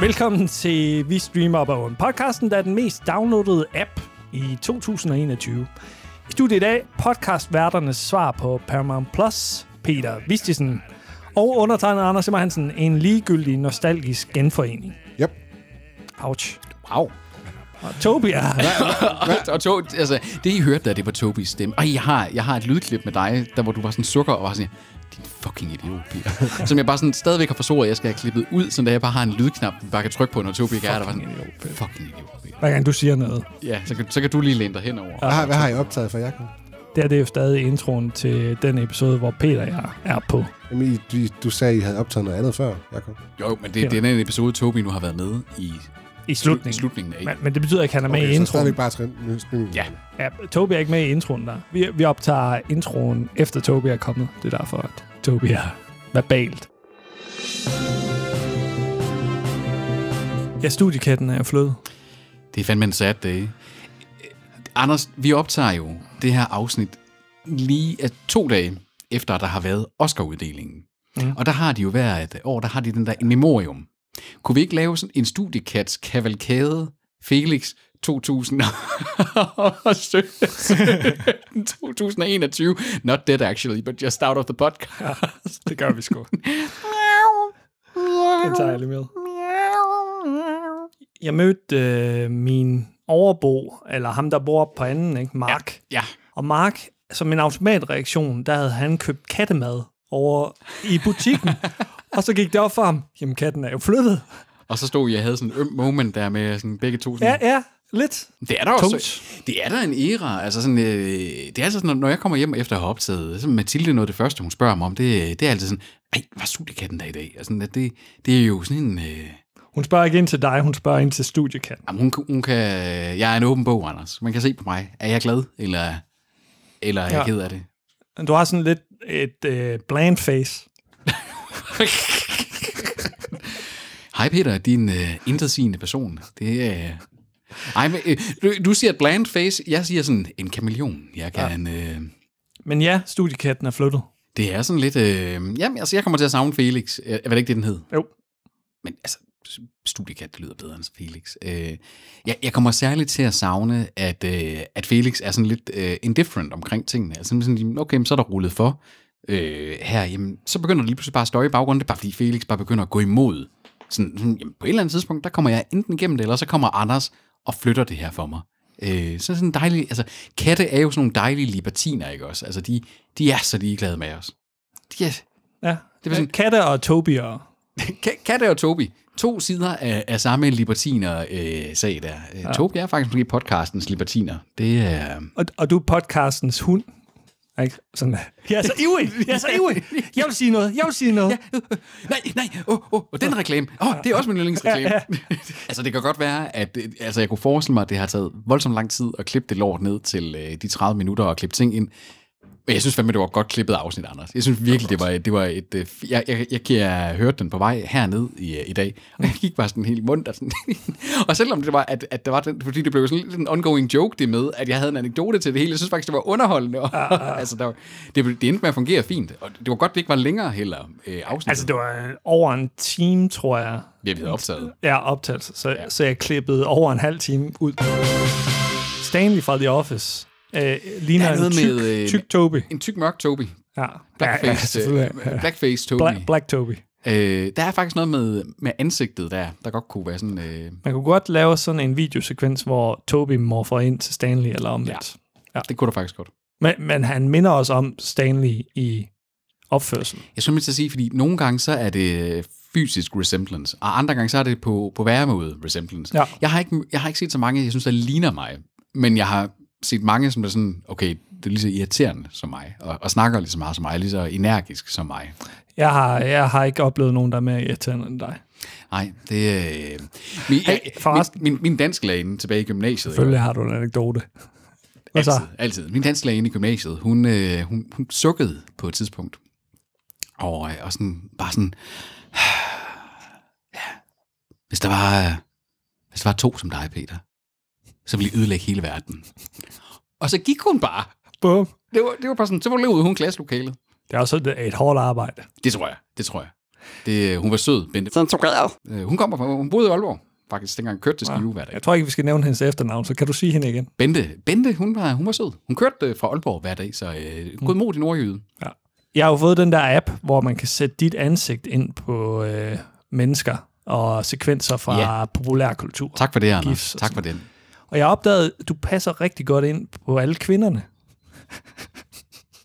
Velkommen til Vi Streamer Up Oven, podcasten, der er den mest downloadede app i 2021. I studiet i dag, podcastværternes svar på Paramount Plus, Peter Vistisen, og undertegnet Anders Simmer Hansen, en ligegyldig nostalgisk genforening. Yep. Ouch. Au. Og Tobia, og to, altså, det I hørte der, det var Tobis stemme. Og jeg har, jeg har et lydklip med dig, der hvor du var sådan sukker og var sådan, din fucking idiot, Peter. som jeg bare sådan stadigvæk har forsovet, at jeg skal have klippet ud, sådan da jeg bare har en lydknap, man bare kan trykke på, når Tobi ikke er der. Var sådan, fucking idiot, Peter. hver gang du siger noget. Ja, så kan, så kan du lige læne dig henover. Hvad har, hvad har I optaget for jer? Knud? Det her det er jo stadig introen til den episode, hvor Peter og jeg er på. Jamen, I, du, du sagde, I havde optaget noget andet før, Jacob. Jo, men det, det er den episode, Tobi nu har været med i I slutningen. slutningen af. Men, men det betyder ikke, at han er med i så introen. stadigvæk bare trin. nu- nu- Ja. Ja, Tobi er ikke med i introen der. Vi, vi optager introen, efter Tobi er kommet. Det er derfor, at Tobi er verbalt. Ja, studiekatten er jo flød. Det er fandme en sad day. Øh, Anders, vi optager jo det her afsnit lige af to dage efter, at der har været Oscar-uddelingen. Mm. Mm. Og der har de jo hver et år, der har de den der in memoriam. Kunne vi ikke lave sådan en studiekats kavalkade Felix 2017, 2021. Not dead actually, but just out of the podcast. Det gør vi sgu. Den tager jeg lige med. Jeg mødte øh, min overbo, eller ham, der bor oppe på anden, ikke? Mark. Ja. ja, Og Mark, som en automatreaktion, der havde han købt kattemad over i butikken. og så gik det op for ham, jamen katten er jo flyttet. og så stod jeg og havde sådan en øm moment der med sådan begge to. Sådan, Ja, ja, lidt. Det er der også. Tungt. Det er der en æra. Altså sådan, øh, det er altså sådan, når- når jeg kommer hjem efter at have optaget, så er Mathilde noget af det første, hun spørger mig om, det, det er altid sådan, ej, var studiekatten der i dag? Altså, det, det er jo sådan en... Øh, Hun spørger ikke ind til dig, hun spørger ind til studiekatten. jamen, hun, hun kan, jeg er en åben bog, Anders. Man kan se på mig, er jeg glad, eller, eller er jeg Ja. ja. ked af det? Du har sådan lidt et øh, bland face. Hej Peter, din øh, intetsigende person. Det er... Øh, ej, men, øh, du, du siger et bland face, jeg siger sådan en kameleon. Jeg kan... Ja. Øh, Men ja, studiekatten er flyttet. Det er sådan lidt... Øh, jamen, altså, jeg kommer til at savne Felix. Øh, Var det ikke det, den hed? Jo. Men altså, s- studiekat det lyder bedre end Felix. Øh, jeg, jeg kommer særligt til at savne, at, øh, at Felix er sådan lidt øh, indifferent omkring tingene. Altså sådan, okay, men så er der rullet for øh, her. Jamen, så begynder det lige pludselig bare at støje i baggrunden. Det er bare, fordi Felix bare begynder at gå imod. Sådan, sådan, jamen, på et eller andet tidspunkt, der kommer jeg enten igennem det, eller så kommer Anders og flytter det her for mig. Øh, så er sådan en dejlig, altså katte er jo sådan nogle dejlige libertiner, ikke også? Altså de, de er så ligeglade med os. De er, Ja, det Det var var sådan... Katte og Tobi og... Ka- Katte og Tobi. To sider af, af samme libertiner-sag øh, sag der. Ja. Tobi er faktisk måske podcastens libertiner. Det er... Og, og du er podcastens hund. Ikke? Sådan, jeg er så ivrig, jeg er så ivrig. Jeg vil sige noget, jeg vil sige noget. Nej, nej, åh, oh, oh, den reklame. Åh, oh, det er også min yndlingsreklame. altså, det kan godt være, at øh, altså, jeg kunne forestille mig, at det har taget voldsomt lang tid at klippe det lort ned til øh, de 30 minutter og klippe ting ind. Men jeg synes fandme, det var et godt klippet afsnit, Anders. Jeg synes virkelig, det var, det var et... øh, f- Jeg, jeg, jeg, jeg hørte den på vej herned i, øh, i dag, og jeg gik bare sådan helt mundt. Og, sådan. og selvom det var, at, at der var den... Fordi det blev sådan lidt en ongoing joke, det med, at jeg havde en anekdote til det hele. Jeg synes faktisk, det var underholdende. Og, altså, der var, det, det endte med at fungere fint. Og det var godt, det ikke var længere heller, øh, afsnittet. Altså, det var øh, over en time, tror jeg, Ja, vi havde optaget. jeg optagelse, så, ja. så jeg klippede over en halv time ud. Stanley fra The Office øh, ligner Der er en noget tyk, med, øh, tyk Tobi. En tyk mørk Toby. Ja, ja, ja, Blackface, ja, selvfølgelig. ja, Blackface Toby. Black, Black Tobi. Øh, der er faktisk noget med, med ansigtet der, der godt kunne være sådan... Øh, Man kunne godt lave sådan en videosekvens, hvor Toby morfer ind til Stanley eller omvendt. Ja. det kunne der faktisk godt. Men, men han minder os om Stanley i opførsel. Jeg skulle lige til at sige, fordi nogle gange så er det øh, fysisk resemblance, og andre gange så er det på, på væremåde resemblance. Ja. Jeg, har ikke, jeg har ikke set så mange, jeg synes, der ligner mig, men jeg har set mange, som er sådan, okay, det er lige så irriterende som mig, og, og snakker lige så meget som mig, lige så energisk som mig. Jeg har, jeg har ikke oplevet nogen, der er mere irriterende end dig. Nej, det... Øh, min, hey, forresten. min, min, min dansk tilbage i gymnasiet, ikke? Selvfølgelig har du en anekdote. Altså, Hvad så? Altid, altid. Min dansklærer inde i gymnasiet, hun, øh, hun, hun sukkede på et tidspunkt. Og, øh, og sådan, bare sådan... Ja, hvis der var, øh, hvis der var to som dig, Peter, så ville I ødelægge hele verden. Og så gik hun bare. Bum. Det var, det var bare sådan, så var hun ud, hun klasselokalet. Det er også et, et hårdt arbejde. Det tror jeg, det tror jeg. Det, øh, hun var sød, Bente. Sådan tog jeg. Øh, hun, kommer fra, hun boede i Aalborg, faktisk, dengang kørte til Skive hver dag. Jeg tror ikke, vi skal nævne hendes efternavn, så kan du sige hende igen. Bente, Bente hun, var, hun var sød. Hun kørte øh, fra Aalborg hver dag, så øh, god mod i nordjyde. Jeg har jo fået den der app, hvor man kan sætte dit ansigt ind på øh, mennesker og sekvenser fra Ja. populærkultur. Tak for det, Anders. Gifs og Tak for den. Og jeg opdagede, at du passer rigtig godt ind på alle kvinderne.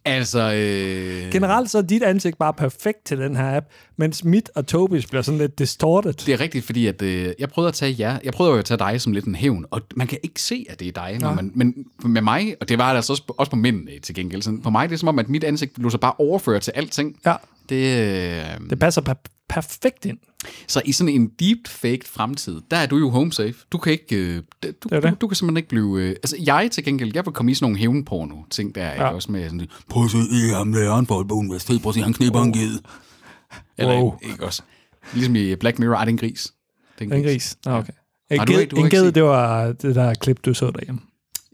Altså, øh, Generelt så er dit ansigt bare perfekt til den her app, mens mit og Tobis bliver sådan lidt distorted. det er rigtigt, fordi at, øh, jeg prøvede at tage jer. Jeg prøvede jo at tage dig som lidt en hævn, og man kan ikke se, at det er dig. Når man, men med mig, og det var det altså også, også på mændene til gengæld, sådan, på mig det er som om, at mit ansigt lå sig bare overføre til alting. Ja, Det, øh, det passer per- perfekt ind. Så i sådan en deepfaked fremtid, der er du jo home safe. Du kan ikke, øh, d- du, er du, det. du kan simpelthen ikke blive... Øh, altså jeg til gengæld, jeg vil komme i sådan nogle hævnporno ting der, ja. også med sådan, prøv at se øh, ham læreren på Aalborg Universitet, prøv at se, han knipper en ged. Eller Wow. ikke, ikke også. Ligesom i Black Mirror, er det en gris? Det er En gris. Nå, okay. En Har du ged, ikke- du har en ikke ged set- det var det der klip, du så derhjemme.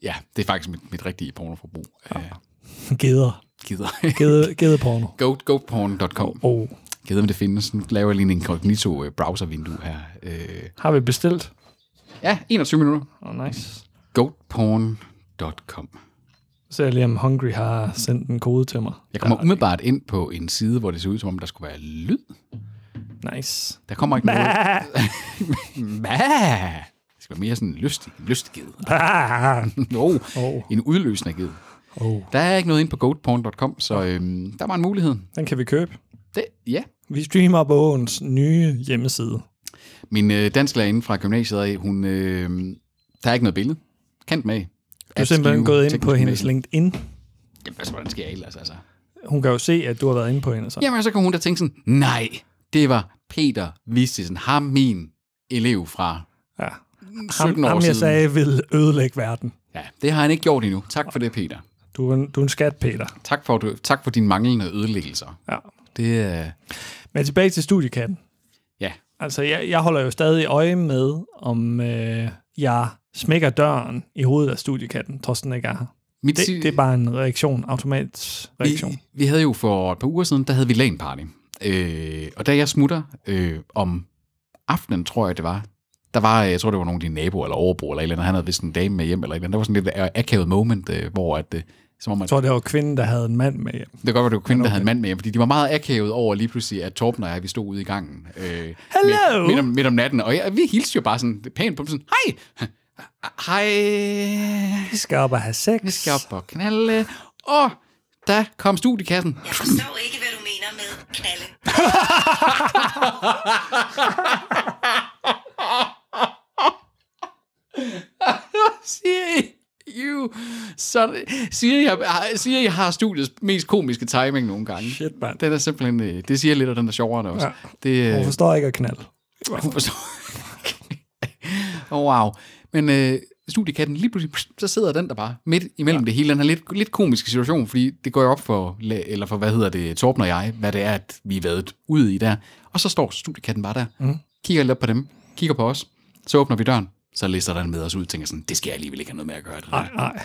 Ja, det er faktisk mit, mit rigtige pornoforbrug. Ja. Øh, Geder. gider. Gede, gedeporno. Go, goporn.com. Oh, Gider, om det findes. Nu laver jeg lige en incognito øh, browservindue her. Øh, har vi bestilt? ja, 21 minutter. Oh, nice. Goatporn.com. Så ser jeg lige, om Hungry har sendt en kode til mig. Jeg kommer umiddelbart ind på en side, hvor det ser ud, som om der skulle være lyd. Nice. Der kommer ikke noget. Mæh! Det skal være mere sådan en lystig, lystig ged. no, oh, en udløsende ged. oh. Der er ikke noget inde på goatporn.com, så øhm, der var en mulighed. Den kan vi købe. Det, ja. Vi streamer bogens nye hjemmeside. Min øh, dansklærerinde fra gymnasiet, af, hun, øh, der er ikke noget billede. Kant med. Du er simpelthen gået ind på hendes LinkedIn. Jamen, altså, hvordan skal jeg ellers, altså? Hun kan jo se, at du har været inde på hende. Så. Jamen, så kom hun der tænke sådan, nej, det var Peter Vistisen, ham min elev fra Ja. 17 Ham, år ham, siden. jeg sagde, vil ødelægge verden. Ja, det har han ikke gjort endnu. Tak for det, Peter. Du er en, du er en skat, Peter. Tak for, du, tak for dine manglende ødelæggelser. Ja. Det øh, er... Men tilbage til studiekatten. Ja, Altså, jeg, jeg holder jo stadig øje med, om øh, jeg smækker døren i hovedet af studiekatten, trods den ikke er her. mit si- Det, det er bare en reaktion, automatisk reaktion. vi, vi havde jo for et par uger siden, der havde vi LAN-party. Øh, og da jeg smutter øh, om aftenen, tror jeg det var, der var, øh, jeg tror det var nogle af dine naboer eller overbo eller et eller andet, han havde vist en dame med hjem eller et eller andet. Der var sådan lidt a- akavet moment, øh, hvor at, øh, som om, Jeg at, det tror, det var kvinden, der havde en mand med hjem. kan godt være, det var kvinden, der havde en mand med hjem, fordi de var meget akavet over lige pludselig, at Torben og jeg, vi stod ude i gangen. Øh, Hello! Midt, midt, om, midt om natten, og jeg, vi hilste jo bare sådan pænt på dem, sådan, hej! Hej! Vi skal op og have sex. Vi skal op og knalde. Og der kom studiekassen. Jeg forstår ikke, hvad du mener med knalde. Siri, you. Så, Siri, har, Siri har studiets mest komiske timing nogle gange. Shit, mand. Den er simpelthen, øh, det siger lidt, og den er sjovere end også. Ja. Ja. Det, Hun øh, forstår ikke at knalde. hun forstår. oh, wow. Men øh, studiekatten, lige pludselig, pst, så sidder den der bare midt imellem ja. det hele. Den her lidt, lidt komiske situation, fordi det går jo op for, la- eller for, hvad hedder det, Torben og jeg, hvad det er, at vi er været ude i der. Og så står studiekatten bare der, mm. kigger lidt op på dem, kigger på os, så åbner vi døren, så lister den med os ud, tænker sådan, det skal jeg alligevel ikke have noget med at gøre. Det, der. Nej, nej.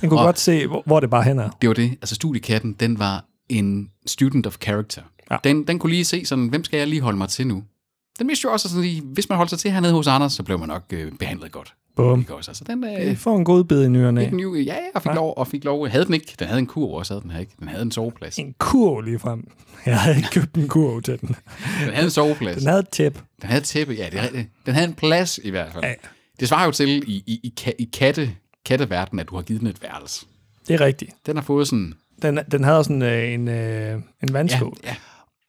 Den kunne og... godt se, hvor, hvor det bare hen er. det var det. Altså studiekatten, den var en student of character. Ja. Ja. Den, den kunne lige se sådan, hvem skal jeg lige holde mig til nu? Den vidste jo også, at sådan, lige, hvis man holdt sig til hernede hos Anders, så blev man nok øh, behandlet godt. Bum. Ikke også? Altså, den, Vi øh, får en god bid i ny og næ. fik den jo, ja, jeg fik lov, og fik lov. Havde den ikke? Den havde en kur også, havde den her ikke. Den havde en soveplads. Den En kurv lige frem. Jeg havde ikke købt en kurv til den. havde en soveplads. Den havde et tæp. Den havde et tæppe, ja, det er rigtigt. Den havde en plads i hvert fald. Ja. Det svarer jo til i, i, i, ka- i katte, katteverdenen, at du har givet den et værelse. Det er rigtigt. Den har fået sådan, Den, den havde sådan øh, en, øh, en ja, vandskål. ja,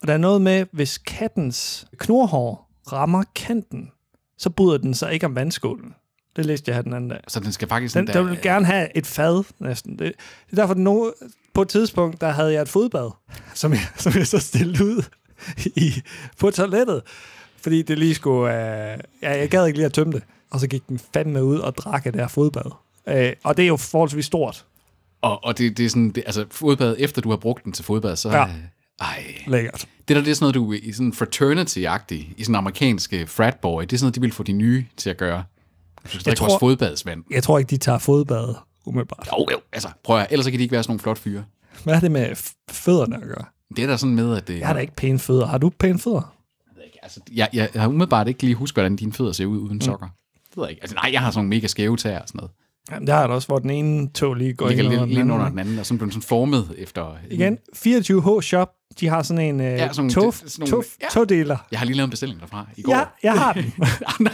Og der er noget med, hvis kattens knorhår rammer kanten, så bryder den sig ikke om vandskålen. Det læste jeg her den anden dag. så den skal faktisk... Den, den vil øh, gerne have et fad, næsten. Det, det er derfor, no, på et tidspunkt, der havde jeg et fodbad, som jeg, som jeg så stillede ud i, på toilettet. Fordi det lige skulle... Øh, ja, jeg gad ikke lige at tømme det. Og så gik den fandme ud og drak af det her fodbad. Øh, og det er jo forholdsvis stort. Og, og det, det er sådan, det, altså fodbad, efter du har brugt den til fodbad, så... Ja. Ja. Ej, Lækkert. det der, det er sådan noget, du i sådan fraternity-agtig, i sådan amerikanske fratboy, det er sådan noget, de vil få de nye til at gøre. Du skal drikke tror- vores fodbadsvand. Jeg tror ikke, de tager fodbad umiddelbart. Jo, jo, altså, prøv at, høre, ellers så kan de ikke være sådan nogle flot fyre. Hvad er det med f- fødderne at gøre? Det er da sådan med, at... øh, Det, Jeg har da ikke pæne fødder. Har du pæne fødder? Altså, jeg, jeg, jeg har umiddelbart ikke lige husket, hvordan dine fødder ser ud Mm. uden sokker. Det ved jeg ikke. Altså, nej, jeg har sådan nogle mega skæve tæer og sådan noget. Jamen, der har jeg da også, hvor den ene tog lige går ligger ind lidt, under lidt den under anden. den anden, og sådan blev den sådan formet efter... Igen, 24H Shop, de har sådan en øh, ja, sådan nogle- sådan, tof, det- det, sådan sådan nogle- tof, ja. ja. togdeler. Jeg har lige lavet en bestilling derfra i går. Ja, jeg har den. Ah, Nej.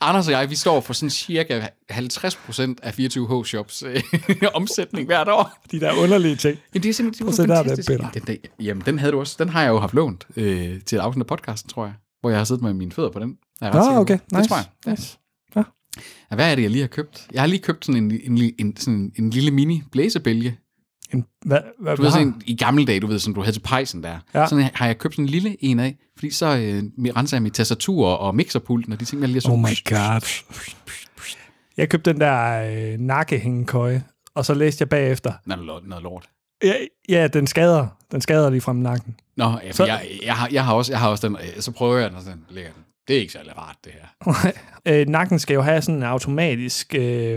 Anders og jeg, vi står for sådan cirka 50% af 24H Shops øh, omsætning hvert år. De der underlige ting. Jamen, det er simpelthen Prøv det er at se, der er fantastisk. det, Peter. Den, der, jamen, den havde du også. Den har jeg jo haft lånt øh, til et afsnit af podcasten, tror jeg. Hvor jeg har siddet med mine fødder på den. Er jeg ret Nå, sikker på. Ah, okay. Nice. Det tror jeg. Ja. nice. Ja, Hvad er det, jeg lige har købt? Jeg har lige købt sådan en, en, li- en, sådan en lille mini blæsebælge. En, hvad, hvad, Du ved hvad sådan har- en, i gamle dage, du ved, som du havde til pejsen der. Ja. Ja. Sådan har jeg købt sådan en lille en af, fordi så øh, mit- renser jeg mit tastatur og mixerpulten og de ting, jeg lige har Oh my god. Jeg købte den der øh, nakkehængekøje, og så læste jeg bagefter. Noget, lort- noget lort. Ja, ja den skader. Den skader lige frem nakken. Nå, ja, for Så- jeg, jeg, har, jeg, har også, jeg har også den, øh, så prøver jeg den, og sådan ligger den. Det er ikke særlig rart, det her. øh, nakken skal jo have sådan en automatisk øh,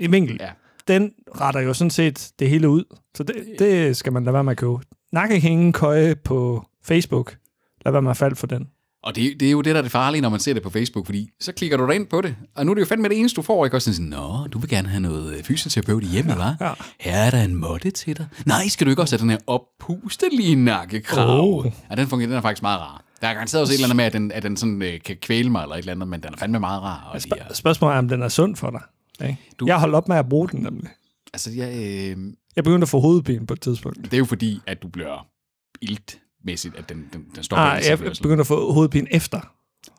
en vinkel. Ja. Ja. Den retter jo sådan set det hele ud. Så det, det skal man lade være med at købe. Nakkehængekøje på Facebook. Lad være med at falde for den. Og det, det er jo det, der er det farlige, når man ser det på Facebook, fordi så klikker du dig ind på det, og nu er det jo fandme det eneste, du får, ikke? Og sådan sådan, nå, du vil gerne have noget øh, fysioterapeut i hjemmet, hva'? Ja. Her er der en måtte til dig. Nej, skal du ikke også have den her oppustelige nakkekrav? Oh. Ja, den fungerer, den er faktisk meget rar. Der er garanteret også et eller andet med, at den, at den sådan, øh, kan kvæle mig eller et eller andet, men den er fandme meget rar. Og de er, Spørgsmålet er, om den er sund for dig. Ikke? Du- Du... Jeg holdt op med at bruge den nemlig. altså, jeg, øh, Jeg begyndte at få hovedpine på et tidspunkt. det er jo fordi, at du bliver iltmæssigt, at den, den, den står Ah, jeg begyndte at få hovedpine efter.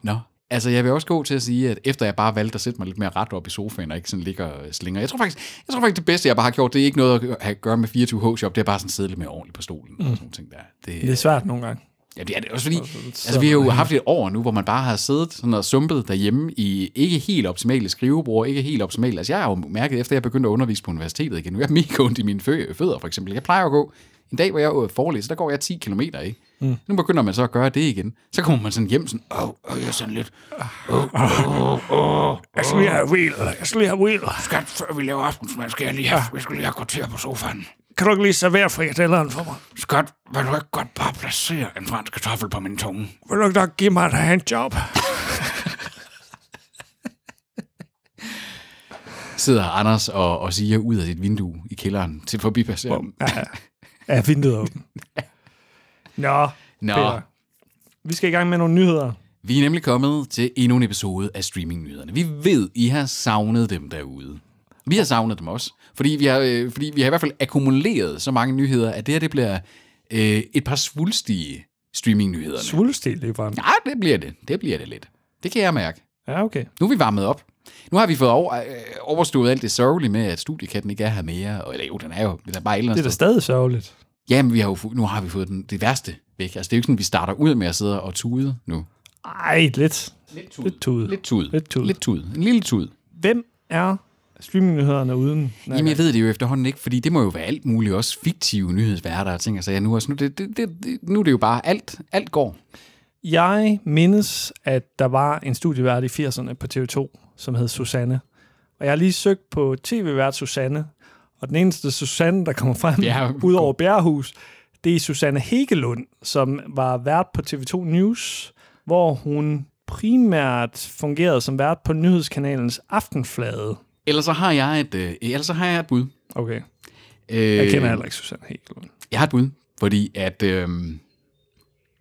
Nå. Altså, jeg vil også gå til at sige, at efter jeg bare valgte at sætte mig lidt mere ret op i sofaen, og ikke sådan ligger og slinger. Jeg tror faktisk, jeg tror faktisk det bedste, jeg bare har gjort, det er ikke noget at have at gøre med 24H-shop, det er bare sådan sidde lidt mere ordentligt på stolen mm. og sådan nogle ting der. Det, Det er svært nogle gange. ja, det er det også fordi, altså, vi har jo haft et år nu, hvor man bare har siddet sådan og sumpet derhjemme i ikke helt optimale skrivebord, ikke helt optimale. Altså, jeg har jo mærket, efter jeg begyndte at undervise på universitetet igen, nu er jeg mega ondt i mine fø- fødder, for eksempel. Jeg plejer at gå en dag, hvor jeg øh, forelæser, der går jeg 10 km, ikke? Mm. Nu begynder man så at gøre det igen. Så kommer man sådan hjem, sådan, åh, åh, jeg er sådan lidt, Jeg skal lige have wheeler. Jeg skal lige have wheeler. skat, før vi laver aftensmad, skal jeg lige have, ja. skal lige have kvarter på sofaen. Kan du ikke lige servere frikadelleren for mig? Skat, vil du ikke godt bare placere en fransk kartoffel på min tunge? Vil du ikke nok give mig et handjob? Sidder Anders og, og siger ud af sit vindue i kælderen til forbipasserende. Ja, vinduet åbent. Nå, Nå, Peter. Vi skal i gang med nogle nyheder. vi er nemlig kommet til endnu en episode af streamingnyhederne. Vi ved, I har savnet dem derude. Vi har savnet dem også, fordi vi har, øh, fordi vi har i hvert fald akkumuleret så mange nyheder, at det her det bliver øh, et par svulstige streamingnyhederne. Svulstil lige frem. Nej, det bliver det. Det bliver det lidt. Det kan jeg mærke. Ja, okay. Nu er vi varmet op. Nu har vi fået over, øh, overstået alt det sørgelige med, at studiekatten ikke er her mere. Eller jo, den er jo den er bare et eller Det andet er da sted. stadig sørgeligt. Jamen, vi har jo, fu- nu har vi fået den, det værste væk. Altså, det er jo ikke sådan, vi starter ud med at sidde og tude nu. Ej, lidt. Lidt tud. Lidt tud. Lidt tude. Lidt tud. Lidt tude. En lille tude. Hvem er streamingnyhederne uden? Nej, Jamen, jeg ved det jo efterhånden ikke, fordi det må jo være alt muligt, også fiktive nyhedsværter og ting. Altså, nu, altså, nu, det, det, det, det- nu er det jo bare alt, alt går. Jeg mindes, at der var en studievært i 80'erne på TV2, som hed Susanne. Og jeg har lige søgt på tv-vært Susanne, og den eneste Susanne, der kommer frem, Bjerre- ud over Bjerrehus, det er Susanne Hegelund, som var vært på TV2 News, hvor hun primært fungerede som vært på nyhedskanalens aftenflade. Ellers så har jeg et, øh, ellers så har jeg et bud. Okay, Øh, jeg kender heller ikke Susanne Hegelund. Jeg har et bud, fordi at... Øh,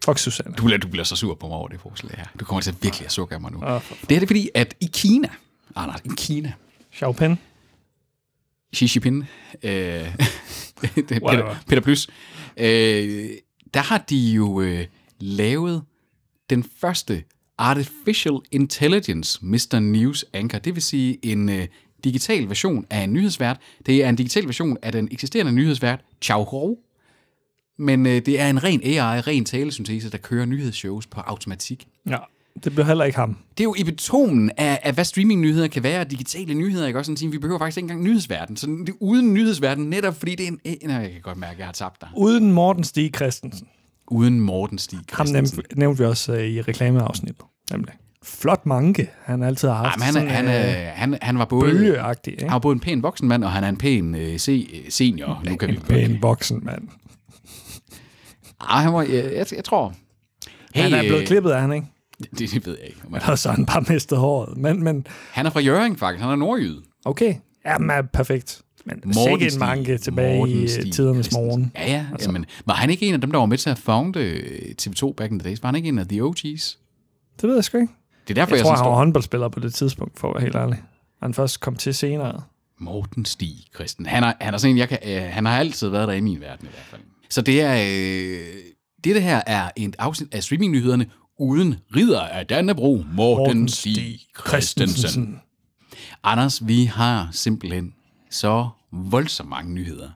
Fuck Susanne. Du, bliver- du bliver så sur på mig over det forslag her. Du kommer til at virkelig at sukke af mig nu. Det er det er fordi, at i Kina, Anders, i Kina, Xiaopen. Xi Jinping, øh, det er Peter, Whatever. Peter Plys, øh, der har de jo øh, lavet den første Artificial Intelligence Mr. News Anchor, det vil sige en øh, digital version af en nyhedsvært. Det er en digital version af den eksisterende nyhedsvært, Chao Hou, men øh, det er en ren AI, ren talesyntese, der kører nyhedsshows på automatik. Ja, det blev heller ikke ham. det er jo i betonen af, af hvad streamingnyheder kan være, og digitale nyheder, ikke også? Sådan, at sige, vi behøver faktisk ikke engang nyhedsverden. Så det er uden nyhedsverden, netop fordi det er en... Nej, jeg kan godt mærke, at jeg har tabt dig. Uden Morten Stig Christensen. Uden Morten Stig Ham Christensen. nævnte, nævnte vi også øh, i reklameafsnittet, nemlig. Flot manke, han altid har haft. øh, Jamen, han, er- han, er- han, han var både... bølgeagtig, ikke? Han var både en pæn voksen mand, og han er en pæn øh, se, øh, senior. Nu kan vi En pæn voksen mand. Ah, han var, jeg, jeg, jeg tror... Hey, han er blevet klippet af han, ikke? øh, Det, det ved jeg ikke. om han- Og så har han bare mistet håret. Men, men Han er fra Jørgen, faktisk. Han er nordjyde. okay, jamen er perfekt. Men sikke en Stig- manke tilbage i Morten Stig Stig tidernes Christensen. morgen. Ja, ja. Altså. Jamen, var han ikke en af dem, der var med til at founde øh, TV2 back in the days? Var han ikke en af The OG's? Det ved jeg sgu ikke. Det er derfor, Jeg, jeg, tror, sådan han var står. håndboldspiller på det tidspunkt, for at være helt ærlig. Han først kom til senere. Morten Stig Christen. Han er, han er sådan en, jeg kan, øh, han har altid været der i min verden i hvert fald. Så det er... Øh, det, det her er et afsnit af streamingnyhederne uden ridder af Dannebro, Morten, Morten Stig Christensen. Anders, vi har simpelthen så voldsomt mange nyheder.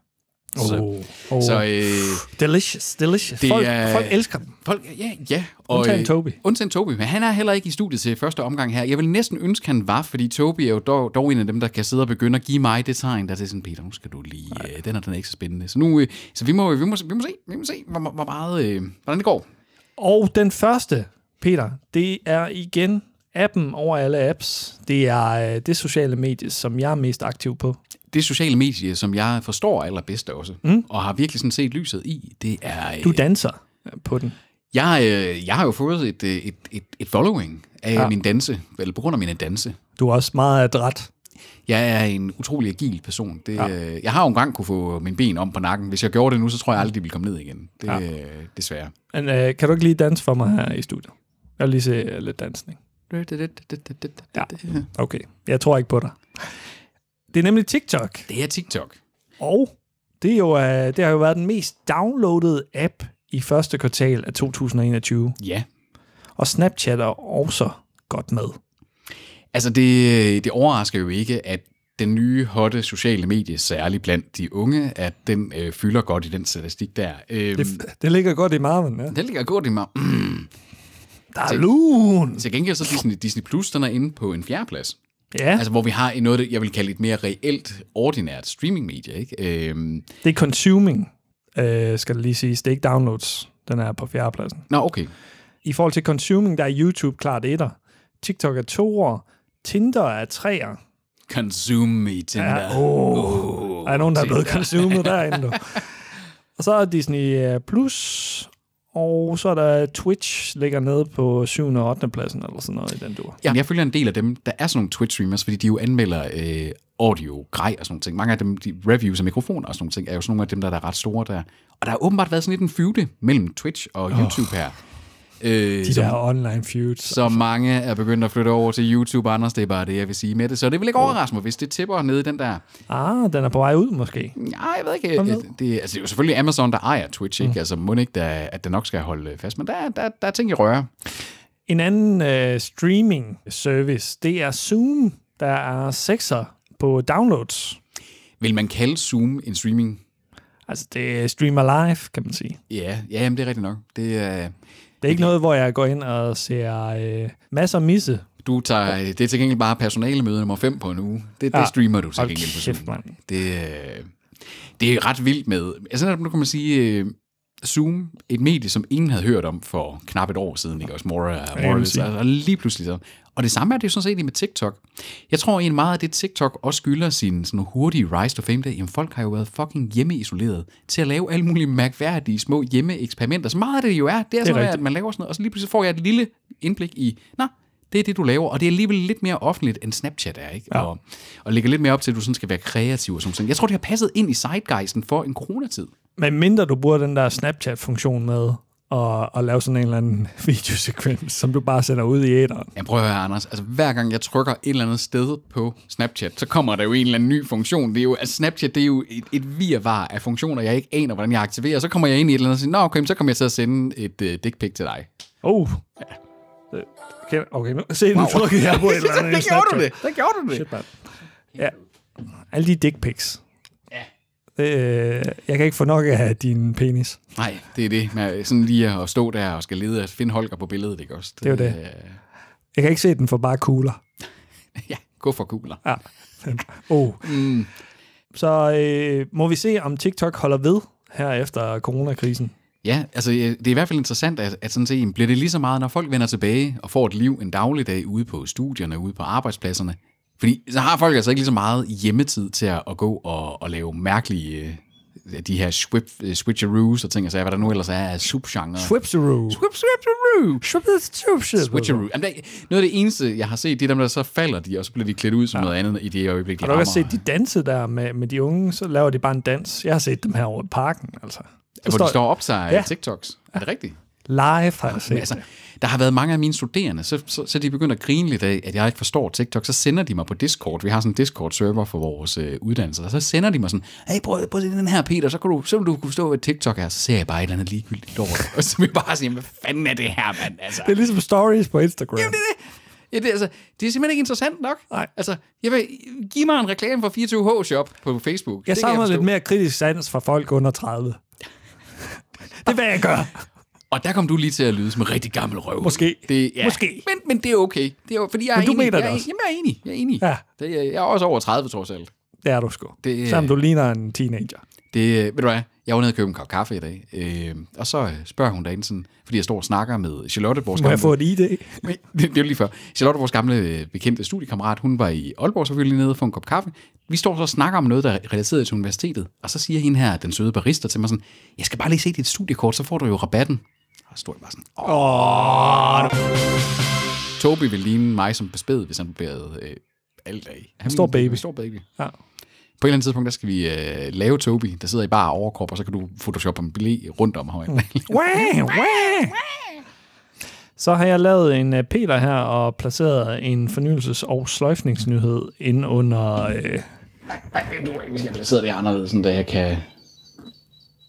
Så, Oh, oh. så Så, øh, delicious, delicious. det Folk, er- folk elsker dem. Folk, ja, ja. Og, Undtagen øh, Toby. Undtagen Toby, men han er heller ikke i studiet til første omgang her. Jeg vil næsten ønske, han var, fordi Toby er jo dog, dog en af dem, der kan sidde og begynde at give mig det tegn, der er til sådan, Peter, nu skal du lige, øh, den er den er ikke så spændende. Så, nu, øh, så vi, må, vi, må, vi må se, vi må se hvor, hvor meget, øh, hvordan det går. Og den første, Peter, det er igen appen over alle apps. Det er øh, det sociale medie, som jeg er mest aktiv på. Det sociale medie, som jeg forstår allerbedst også, mm. og har virkelig sådan set lyset i, det er... Øh, Du danser på den. jeg, øh, jeg har jo fået et, øh, et, et, et following af ja. min danse, eller på grund af mine danse. Du er også meget adræt. Jeg er en utrolig agil person. Det, ja. Jeg har jo engang kunne få min ben om på nakken. Hvis jeg gjorde det nu, så tror jeg aldrig, de ville komme ned igen. Det, ja. øh, desværre. Men øh, kan du ikke lige danse for mig her i studiet? Jeg vil lige se øh, lidt dansning. Ja. Okay, jeg tror ikke på dig. Det er nemlig TikTok. Det er TikTok. Og det, er jo, øh, det har jo været den mest downloadede app i første kvartal af 2021. Ja. Og Snapchat er også godt med. Altså, det, det overrasker jo ikke, at den nye hotte sociale medie, særligt blandt de unge, at den øh, fylder godt i den statistik der. Øhm, det, Det, det ligger godt i marven, ja. den ligger godt i mig. Der er lun! Til gengæld så er Disney, Disney Plus, den er inde på en fjerdeplads. Ja, Altså, hvor vi har noget, det, jeg vil kalde et mere reelt, ordinært streamingmedie, ikke? Øhm, det er consuming, øh, skal det lige siges. Det er ikke downloads, den er på fjerdepladsen. nå, okay. I forhold til consuming, der er YouTube klart etter. TikTok er toer. Tinder er treer. Consume me, Tinder. Ja, oh. Der er nogen, der er blevet consumet derinde. Du. Og så er Disney øh, Plus, og så er der Twitch, ligger nede på 7. og 8. pladsen, eller sådan noget i den dur. Ja. Jeg følger en del af dem, der er sådan nogle Twitch-streamers, fordi de jo anmelder øh, audio, grej og sådan nogle ting. Mange af dem, de reviews af mikrofoner og sådan nogle ting, er jo sådan nogle af dem, der, der er ret store der. Og der har åbenbart været sådan lidt en feude mellem Twitch og oh. YouTube her. Øh, De som, der online feuds. så mange er begyndt at flytte over til YouTube, Anders, det er bare det, jeg vil sige med det. Så det vil ikke overraske mig, hvis det tipper ned i den der... Ah, den er på vej ud måske. Nej, jeg ved ikke. ved? Det, det, altså, det er jo selvfølgelig Amazon, der ejer Twitch, Mm. ikke? Altså, må ikke, der, at den nok skal holde fast. Men der, der, der er ting i røre. En anden øh, streaming service, det er Zoom, der er sekser på downloads. Vil man kalde Zoom en streaming Altså, det er streamer live, kan man sige. Ja, ja jamen, det er rigtigt nok. Det, øh, Det er ikke noget, hvor jeg går ind og ser øh, masser af misse. du tager, det er til gengæld bare personalemøde nummer 5 på en uge. Det, ja. Ja. det streamer du til Hold gengæld på kæft, Zoom. mand. Det, øh, det er ret vildt med. Altså, nu kan man sige, øh, Zoom, et medie, som ingen havde hørt om for knap et år siden, ikke også? More, uh, more man or less, sige. altså, lige pludselig så. Og det samme er det jo sådan set egentlig med TikTok. Jeg tror egentlig meget af det, TikTok også skylder sin sådan hurtige rise to fame, der, jamen folk har jo været fucking hjemmeisoleret til at lave alle mulige mærkværdige små hjemmeeksperimenter. Så meget af det jo er, det er, sådan, noget, rigtigt. at man laver sådan noget, og så lige pludselig får jeg et lille indblik i, nå, det er det, du laver, og det er alligevel lidt mere offentligt, end Snapchat er, ikke? Ja. Og, og ligger lidt mere op til, at du sådan skal være kreativ og sådan noget. Jeg tror, det har passet ind i sidegeisten for en coronatid. Men mindre du bruger den der Snapchat-funktion med og, og lave sådan en eller anden videosekvens, som du bare sender ud i æderen. Jeg prøver at høre, Anders. Altså, hver gang jeg trykker et eller andet sted på Snapchat, så kommer der jo en eller anden ny funktion. Det er jo, altså, Snapchat det er jo et, et virvar af funktioner, jeg ikke aner, hvordan jeg aktiverer. Så kommer jeg ind i et eller andet og siger, Nå, okay, men så kommer jeg til at sende et uh, dick pic til dig. Oh. Ja. Øh, Okay, okay nu, se, nu wow. trykkede jeg på et eller andet. i Snapchat. Der gjorde du det. Shit, mand. Ja. Alle de dick pics. Ja. Øh, jeg kan ikke få nok af din penis. Nej, det er det. Med sådan lige at stå der og skal lede og finde Holger på billedet, ikke også? Det er jo det. Jeg kan ikke se den for bare kugler. øh, ja, gå for kugler. Ja. oh. mm. Så øh, må vi se, om TikTok holder ved her efter coronakrisen. Ja, altså øh, det er i hvert fald interessant, at, at sådan set, bliver det lige så meget, når folk vender tilbage og får et liv en dagligdag ude på studierne, ude på arbejdspladserne. Fordi så har folk altså ikke lige så meget hjemmetid til at, at gå og, og lave mærkelige øh, de her swip, øh, switcheroos og ting, og så hvad der nu ellers er af subgenre. Swipseroo. Swip, switcheroo! Swipseroo. Switcheroo. Jamen, der, noget af det eneste, jeg har set, det er dem, der så falder de, og så bliver de klædt ud som ja. noget andet i det øjeblik, de Har du rammer. også set de danse der med, med de unge? Så laver de bare en dans. Jeg har set dem her over i parken, altså. Der Hvor står... de står og optager Ja. ja. TikToks. Er det rigtigt? live, har jeg set Men altså, der har været mange af mine studerende, så, så, så de begynder at grine lidt af, at jeg ikke forstår TikTok. Så sender de mig på Discord. Vi har sådan en Discord-server for vores øh, uddannelser. Og så sender de mig sådan, hey, prøv, prøv at se den her, Peter, så, kan du, så vil du kunne forstå, hvad TikTok er. Så ser jeg bare et eller andet ligegyldigt lort. og så vil jeg bare sige, hvad fanden er det her, mand? Altså. Det er ligesom stories på Instagram. Jamen, det er det. Ja, det, er altså, det er simpelthen ikke interessant nok. Nej. Altså, jeg vil, giv mig en reklame for 24H-shop på Facebook. Det kan jeg savner forstå. lidt mere kritisk sans fra folk under 30. det er, hvad jeg gør. Og der kom du lige til at lyde som en rigtig gammel røv. Måske. Det, ja. Måske. Men, men det er okay. Det er, jo- fordi jeg Men er du enig. mener jeg, det er- også. Jamen, jeg er enig. Jeg er enig. Ja. Det, er- jeg er også over 30, trods alt. Det er du sgu. Det- Selvom du ligner en teenager. Det, øh, ved du hvad, jeg var nede og købe en kop kaffe i dag, øh, og så øh, spørger hun derinde, sådan, fordi jeg står og snakker med Charlotte, vores Må jeg gamle... få et ID? Nej, det, det var lige før. Charlotte, vores gamle øh, bekendte studiekammerat, hun var i Aalborg, så vi var lige nede for en kop kaffe. Vi står så og snakker om noget, der er relateret til universitetet. Og så siger hende her, den søde barista, til mig sådan, jeg skal bare lige se dit studiekort, så får du jo rabatten. Og så stod jeg bare sådan, åh. Oh. Tobi ville ligne mig som bespæd, hvis han barberede øh, alt af. Han stor ville- baby. En stor baby. Ja. På et eller andet tidspunkt, der skal vi øh, lave Tobi, der sidder i bare overkrop, og så kan du photoshoppe en blæ rundt om Mm. ham. Wah, wah. Så har jeg lavet en øh, Peter her og placeret en fornyelses- og sløjfningsnyhed ind under... Øh, Ej, nu er jeg ikke, jeg placerede det anderledes, sådan, da jeg kan...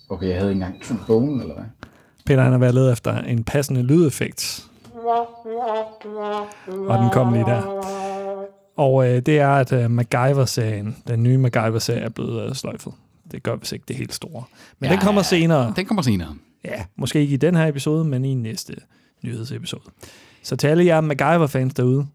Okay, jeg havde ikke engang sådan bogen, eller hvad? Peter han har været leder efter en passende lydeffekt. Og den kom lige der. Og øh, det er, at øh, MacGyver-serien, den nye MacGyver-serie, er blevet øh, sløjfet. Det gør vist ikke det helt store. Men ja, den kommer senere. Den kommer senere. Ja, måske ikke i den her episode, men i næste nyhedsepisode. Så til alle jer MacGyver-fans derude,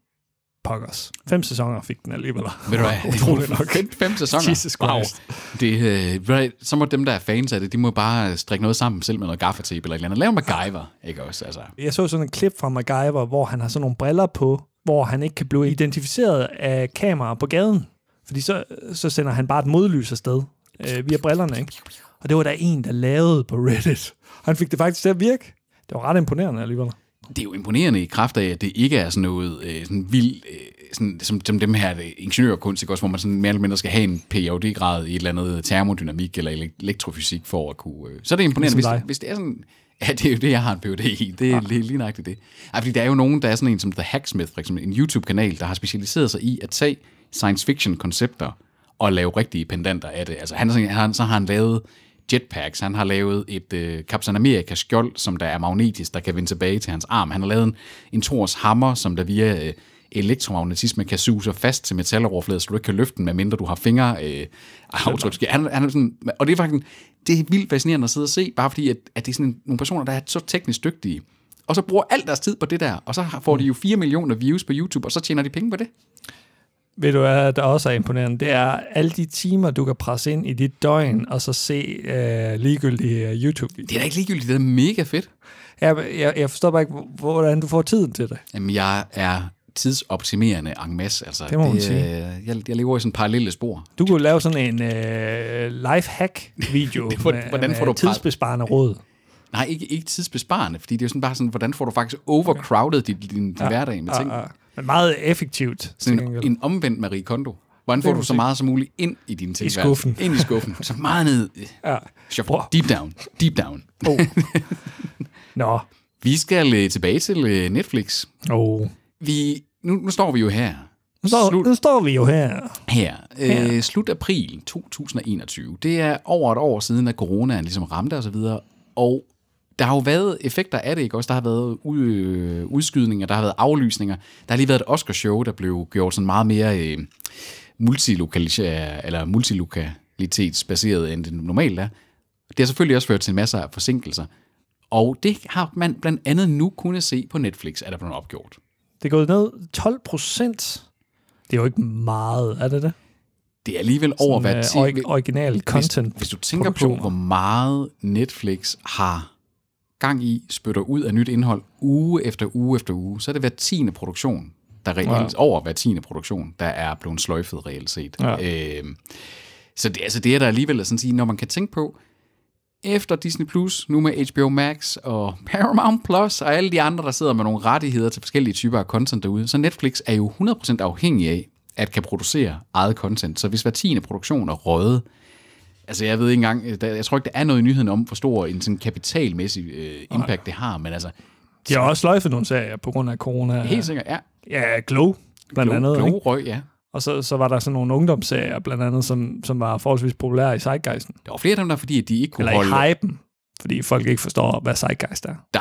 pokkers. Fem sæsoner fik den alligevel. Ved du hvad? Utroligt nok. Fem- Fem sæsoner. Jesus Christ. Wow. Det, øh, ved du hvad, så må dem, der er fans af det, de må bare strikke noget sammen selv med noget gaffatape eller et eller andet. Lav MacGyver, ikke også? Altså, Jeg så sådan et klip fra MacGyver, hvor han har sådan nogle briller på, hvor han ikke kan blive identificeret af kameraer på gaden. Fordi så, så sender han bare et modlys afsted øh, via brillerne, ikke? Og det var der en, der lavede på Reddit. Han fik det faktisk til at virke. Det var ret imponerende alligevel. det er jo imponerende i kraft af, at det ikke er sådan noget øh, sådan vildt, øh, sådan, som, som dem her øh, ingeniørkunst, ikke også? hvor man sådan mere eller mindre skal have en phd grad i et eller andet termodynamik eller elek- elektrofysik for at kunne... Øh. Så er det imponerende, Ligesom hvis, dig. hvis det er sådan... Ja, det er jo det, jeg har en PhD i. Det er ja. lige, lige nøjagtigt det. Ej, fordi der er jo nogen, der er sådan en som The Hacksmith, for eksempel, en YouTube-kanal, der har specialiseret sig i at tage science fiction-koncepter og lave rigtige pendanter af det. Altså, han, er sådan- han, så har han lavet jetpacks, han har lavet et øh, Captain America skjold, som der er magnetisk, der kan vende tilbage til hans arm. Han har lavet en, en Thors hammer, som der via øh, elektromagnetisme kan suge sig fast til metaloverfladen, så du ikke kan løfte den, medmindre du har fingre øh, aftryk. Han, han er sådan, og det er faktisk det er vildt fascinerende at sidde og se, bare fordi, at, at det er sådan nogle personer, der er så teknisk dygtige, og så bruger al deres tid på det der, og så har- får de jo 4 millioner views på YouTube, og så tjener de penge på det. Ved du, hvad der også er imponerende? Det er alle de timer, du kan presse ind i dit døgn, og så se øh, ligegyldige øh, YouTube-videoer. Det er da ikke ligegyldigt, det er mega fedt. Jeg, jeg, jeg forstår bare ikke, hvor- hvordan du får tiden til det. Jamen, jeg er tidsoptimerende en masse. Altså, Det må man sige. øh, Jeg, jeg lever i sådan parallelle spor. Du kunne lave sådan en øh, lifehack-video Det får- med, hvordan får med du presset- tidsbesparende råd. Nej, ikke, ikke tidsbesparende, fordi det er jo sådan bare sådan, hvordan får du faktisk overcrowded din, din, din ja, hverdag med ting. Ja, ja. Ah, Men meget effektivt. til Sådan gengæld. en, en omvendt Marie Kondo. Hvordan får må du så man meget som muligt ind i din tilværelse? skuffen. Ind i skuffen. Så meget ned. Ja. Shuffle. Deep down. Deep down. Oh. Nå. Vi skal øh, tilbage til øh, Netflix. Oh. Vi, nu, nu står vi jo her. Nu, står, nu står vi jo her. Her. Øh, slut april 2021. Det er over et år siden, at coronaen ligesom ramte osv. Og, og der har jo været effekter af det, ikke også? Der har været ud, øh, udskydninger, der har været aflysninger. Der har lige været et Oscar-show, der blev gjort sådan meget mere øh, multilokaliseret, eller multilokalitetsbaseret, end det normalt er. Det har selvfølgelig også ført til masser af forsinkelser. Og det har man blandt andet nu kunne se på Netflix, at der blevet opgjort. Det er gået ned 12 procent. Det er jo ikke meget, er det det? Det er alligevel over, Sådan, hvad øh, 10 ori- original content. Hvis, hvis du tænker på, produktioner. hvor meget Netflix har gang i, spytter ud af nyt indhold uge efter uge efter uge, så er det hver tiende produktion, der reelt, ja. over hver tiende produktion, der er blevet sløjfet reelt set. Ja. Øh, Så det, altså det er der alligevel at sådan sige, når man kan tænke på, efter Disney+, Plus, nu med HBO Max og Paramount Plus og alle de andre, der sidder med nogle rettigheder til forskellige typer af content derude, så Netflix er jo 100% afhængig af, at kan producere eget content. Så hvis hver tiende produktion er røget, altså jeg ved ikke engang, øh, der, jeg tror ikke, der er noget i nyheden om, hvor stor en sådan kapitalmæssig øh, impact det har, men altså, De har også sløjfet nogle serier på grund af corona. helt sikkert, ja, Ja, Glow, blandt andet. blå, ikke? blå røg, ja. Og så, så var der sådan nogle ungdomsserier, blandt andet, som, som var forholdsvis populære i Zeitgeisten. Der var flere af dem der, fordi de ikke kunne Eller holde... i hypen, fordi folk ikke forstår, hvad Zeitgeist er. Der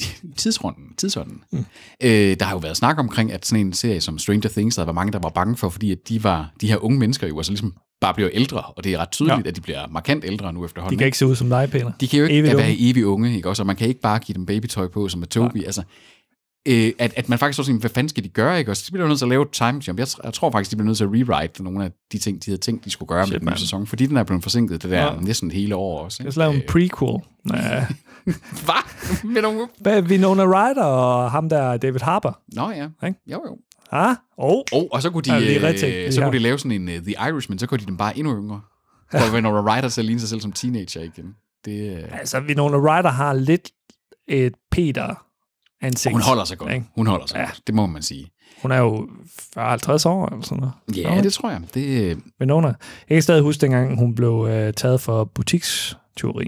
tidsrunden, tidsrunden. Mm. Øh, der har jo været snak omkring, at sådan en serie som Stranger Things, der var mange, der var bange for, fordi at de, var, de her unge mennesker jo altså ligesom bare bliver ældre, og det er ret tydeligt, Ja. ja. at de bliver markant ældre nu De efterhånden. kan ikke se ud som dig, Peter. de kan jo ikke evigt være unge. evige unge, ikke også? Og man kan ikke bare give dem babytøj på, som er Toby. Altså, øh, at, at man faktisk også tænker, hvad fanden skal de gøre, ikke også? De bliver jo nødt til at lave et time jump. Jeg, tr- jeg tror faktisk, de bliver nødt til at rewrite nogle af de ting, de havde tænkt, de skulle gøre Shit, med den nye sæson, fordi den er blevet forsinket det der Ja. ja. næsten et hele år også. Lad ikke? os lave en prequel. Ja. Hvad? Med nogle... Hvad, Winona Ryder og ham der, David Harper. Nå ja, Ikke? jo jo. Ah, oh. Oh, og så kunne de, Ja, lige ja, retænkt øh, det så kunne her. de lave sådan en uh, The Irishman, så kunne de dem bare endnu yngre. For Winona Ryder til at ligne sig selv som teenager igen. Det, øh, Altså, Winona Ryder har lidt et Peter-ansigt. hun holder sig godt. Ikke? Hun holder sig Ja. ja. godt. Det må man sige. Hun er jo 40-50 år eller sådan noget. Ja, Nå, det tror jeg. Det, øh, Winona. Jeg kan stadig huske, dengang hun blev øh, taget for butikstyveri.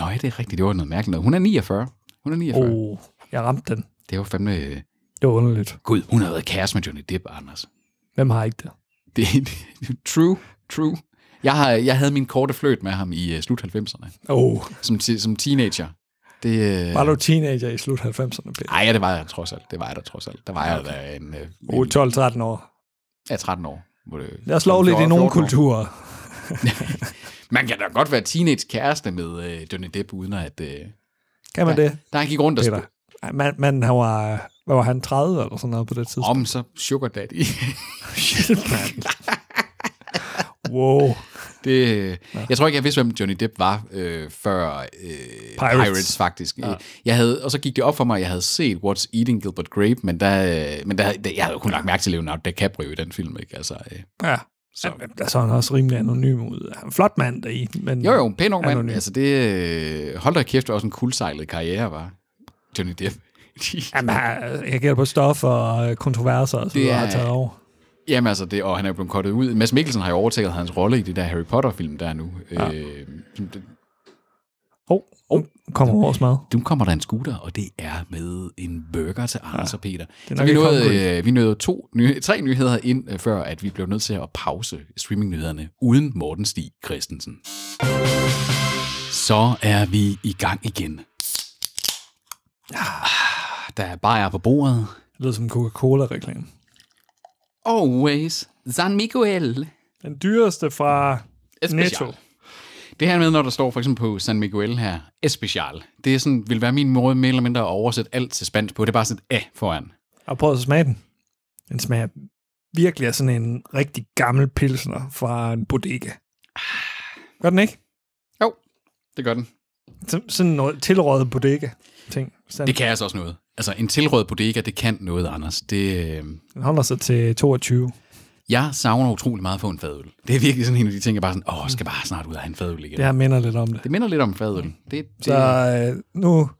Nå, ja, det er rigtigt. Det var noget mærkeligt noget. Hun er 49. Hun er 49. Oh. Oh, jeg ramte den. Det var fandme... øh, Det var underligt. Gud, hun har været kæreste med Johnny Depp, Anders. Hvem har ikke det? Det, det true, true. Jeg, har, jeg havde min korte fløjt med ham i uh, slut 90'erne, Oh. som, ti- som teenager. Det, øh, Var du teenager i slut 90'erne, Peter? Ej, ja, det var jeg trods alt. Det var jeg da trods alt. Der var jeg da en, øh, Oh, en 12-13 år. ja, 13 år. Hvor det- Lad os love lidt i 14 nogle år. kulturer. Man kan da godt være teenage kæreste med øh, Johnny Depp, uden at... Øh, Kan man der, det, Der han gik rundt og Peter? spurgte, Ej, Man, man han var, hvad var han, 30 eller sådan noget på det tidspunkt? om så sugar daddy. Shit, man. Wow. Det, øh, jeg tror ikke, jeg vidste, hvem Johnny Depp var øh, før øh, Pirates. Pirates, faktisk. Ja. Jeg havde, og så gik det op for mig, at jeg havde set What's Eating Gilbert Grape, men, der, øh, men der, der, jeg havde kun lagt mærke til Leonardo DiCaprio i den film. Ikke? Altså, øh, Ja. Så. Der så han også rimelig anonym ud. Han er en flot mand deri. Men jo, jo, en pæn ung mand. Anonym. Altså, det, øh, hold da kæft, det var også en kuldsejlet karriere, var Johnny Depp. Jamen, han- jeg gælder på stof og øh, kontroverser og så Det videre, er- har taget over. Jamen altså, det, og han er jo blevet kottet ud. Mads Mikkelsen har jo overtaget hans rolle i det der Harry Potter-film, der er nu. Ja. Øh, Hov, oh, oh. kommer vores mad. Nu kommer der en scooter, og det er med en burger til Anders ja, og Peter. er Så nok vi ikke nåede, øh, vi nåede to, ny, tre nyheder ind, øh, før at vi blev nødt til at pause streamingnyhederne uden Morten Stig Christensen. Så er vi i gang igen. Ah, Der er bajer på bordet. Det lyder som en Coca-Cola-reklame. Always San Miguel. Den dyreste fra Especial. Netto. Det her med, når der står for eksempel på San Miguel her, Especial, det er sådan, vil være min måde mere eller mindre at oversætte alt til spansk på. Det er bare sådan et A foran. Og prøv at smage den. Den smager virkelig af sådan en rigtig gammel pilsner fra en bodega. Ah. Gør den ikke? Jo, det gør den. Så- Sådan noget tilrådet bodega-ting. Sådan, Det kan altså også noget. Altså, en tilråd bodega, det kan noget, Anders. Det, øh, Den holder sig til 22. jeg savner utrolig meget på en fadøl. Det er virkelig sådan en af de ting, jeg bare sådan, åh, skal bare snart ud af en fadøl igen. Det her minder lidt om det. Det minder lidt om en fadøl. Det, det Så øh, nu,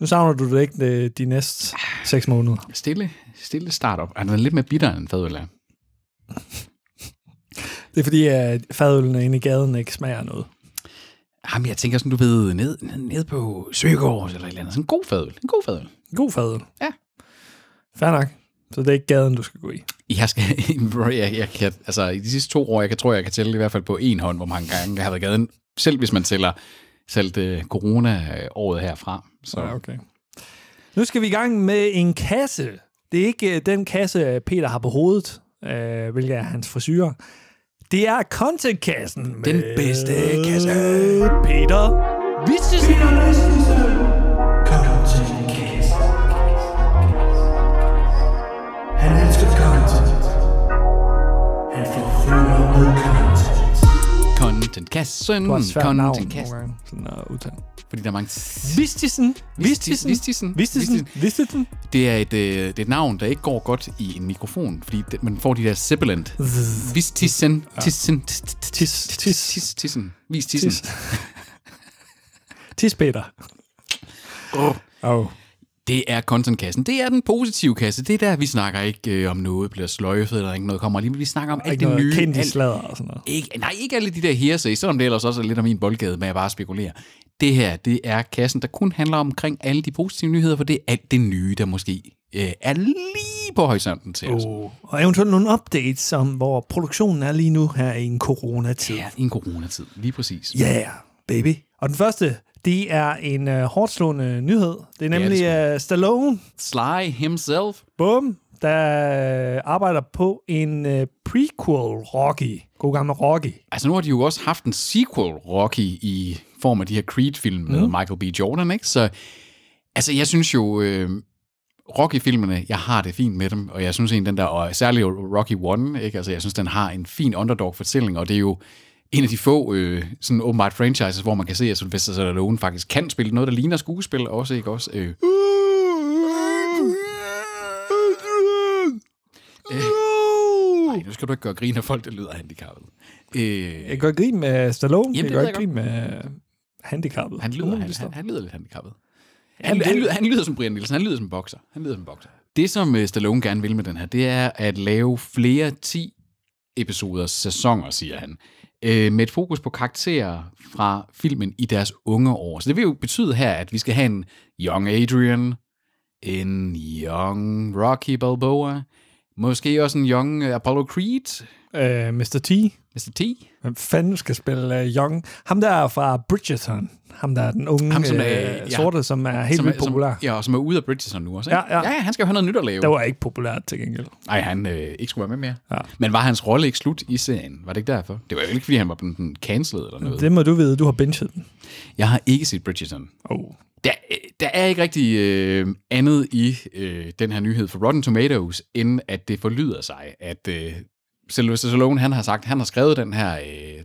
nu savner du det ikke øh, de næste seks måneder. er stille, stille startup. Er den er lidt mere bitter end en fadøl er? Det er fordi, at fadølene inde i gaden ikke smager noget. Jamen, jeg tænker sådan, du ved, ned, ned på Søgaard eller et eller andet. Sådan en god fadøl. En god fadøl. God fadøl. Ja. Fair nok. Så det er ikke gaden, du skal gå i. Jeg skal, jeg, jeg kan, altså i de sidste to år, jeg kan, tror jeg kan tælle i hvert fald på en hånd, hvor mange gange jeg har været i gaden. Selv hvis man tæller selv det corona-året herfra. Så Ja, okay. Nu skal vi i gang med en kasse. Det er ikke øh, den kasse, Peter har på hovedet, øh, hvilket er hans frisyrer. Det er contentkassen. Den med bedste kasse. Peter Vistesen. Han elsker content. Han får fylder med content. Content Kassen, Du har et svært navn Konten, nogle Kassen. gange. Sådan at udtale. Fordi der er mange... s- Vistisen. Vistisen. Vistisen. Vistisen. Vistisen. Det er et, øh, det er et navn, der ikke går godt i en mikrofon, fordi det, man får de der sibilant. Vis tissen. Tissen. tis- tis- Tis. tis- Tis. tis- Tissen. Vis tissen. Tis. Tis, Peter. Åh. Oh. Det er contentkassen. Det er den positive kasse. Det er der, vi snakker ikke øh, om noget, bliver sløjfet eller ikke noget kommer lige. Vi snakker om alt Ikke det nye. noget kendt i alt- sladder og sådan noget. Ikke, nej, ikke alle de der hearsay, selvom det ellers også er lidt om min boldgade, men jeg bare spekulerer. Det her, det er kassen, der kun handler omkring alle de positive nyheder, for det er alt det nye, der måske øh, er lige på horisonten til os. Oh. Og eventuelt nogle updates om, hvor produktionen er lige nu her i en coronatid. Ja, i en coronatid, lige præcis. Yeah, baby. Og den første, det er en øh, hårdt slående nyhed. Det er er nemlig det øh, Stallone, Sly himself. bum, der øh, arbejder på en øh, prequel Rocky. God gammel Rocky. Altså nu har de jo også haft en sequel Rocky i form af de her Creed-film med Michael B. Jordan, ikke? Så altså jeg synes jo, øh, Rocky-filmene, jeg har det fint med dem, og jeg synes egentlig den der, og særligt Rocky 1, ikke? Altså jeg synes den har en fin underdog-fortælling, og det er jo en af de få øh, sådan åbenbart franchises, hvor man kan se, at Sylvester Stallone faktisk kan spille noget, der ligner skuespil også, ikke også? Øh, nej, Øh. nu skal du ikke gøre grin af folk, der lyder handicappet. Øh, Jeg gør grin med Stallone. Jamen, jeg det gør ved ikke jeg grin med øh, handicappet. Han lyder, han, Umuligt han, stof. han lyder lidt handicappet. Han, Jamen, han, det- lyder, han lyder som Brian Nielsen, han lyder som bokser. Han lyder som bokser. Det, som øh, Stallone gerne vil med den her, det er at lave flere 10 episoder, sæsoner, siger han, øh, med et fokus på karakterer fra filmen i deres unge år. Så det vil jo betyde her, at vi skal have en Young Adrian, en Young Rocky Balboa, måske også en Young øh, Apollo Creed, Øh, Mr. T. Mr. T, Hvem fanden skal spille uh, Young? Ham der er fra Bridgerton. Ham der er den unge Ham, som er- øh, ja. sorte, som er helt som, er- vildt som, populær. ja, og som er ude af Bridgerton nu også. ikke? Ja, ja. ja, han skal jo have noget nyt at lave. Det var ikke populært til gengæld. Nej, han øh, ikke skulle være med mere. Ja. Men var hans rolle ikke slut i serien? Var det ikke derfor? Det var jo ikke, fordi han var blevet den cancelled eller noget. Det... Det må du vide, du har benchet den. Jeg har ikke set Bridgerton. Oh. Der, øh, der er ikke rigtig øh, andet i øh, den her nyhed for Rotten Tomatoes, end at det forlyder sig, at øh, Sylvester Stallone, han har sagt, han har skrevet den her øh,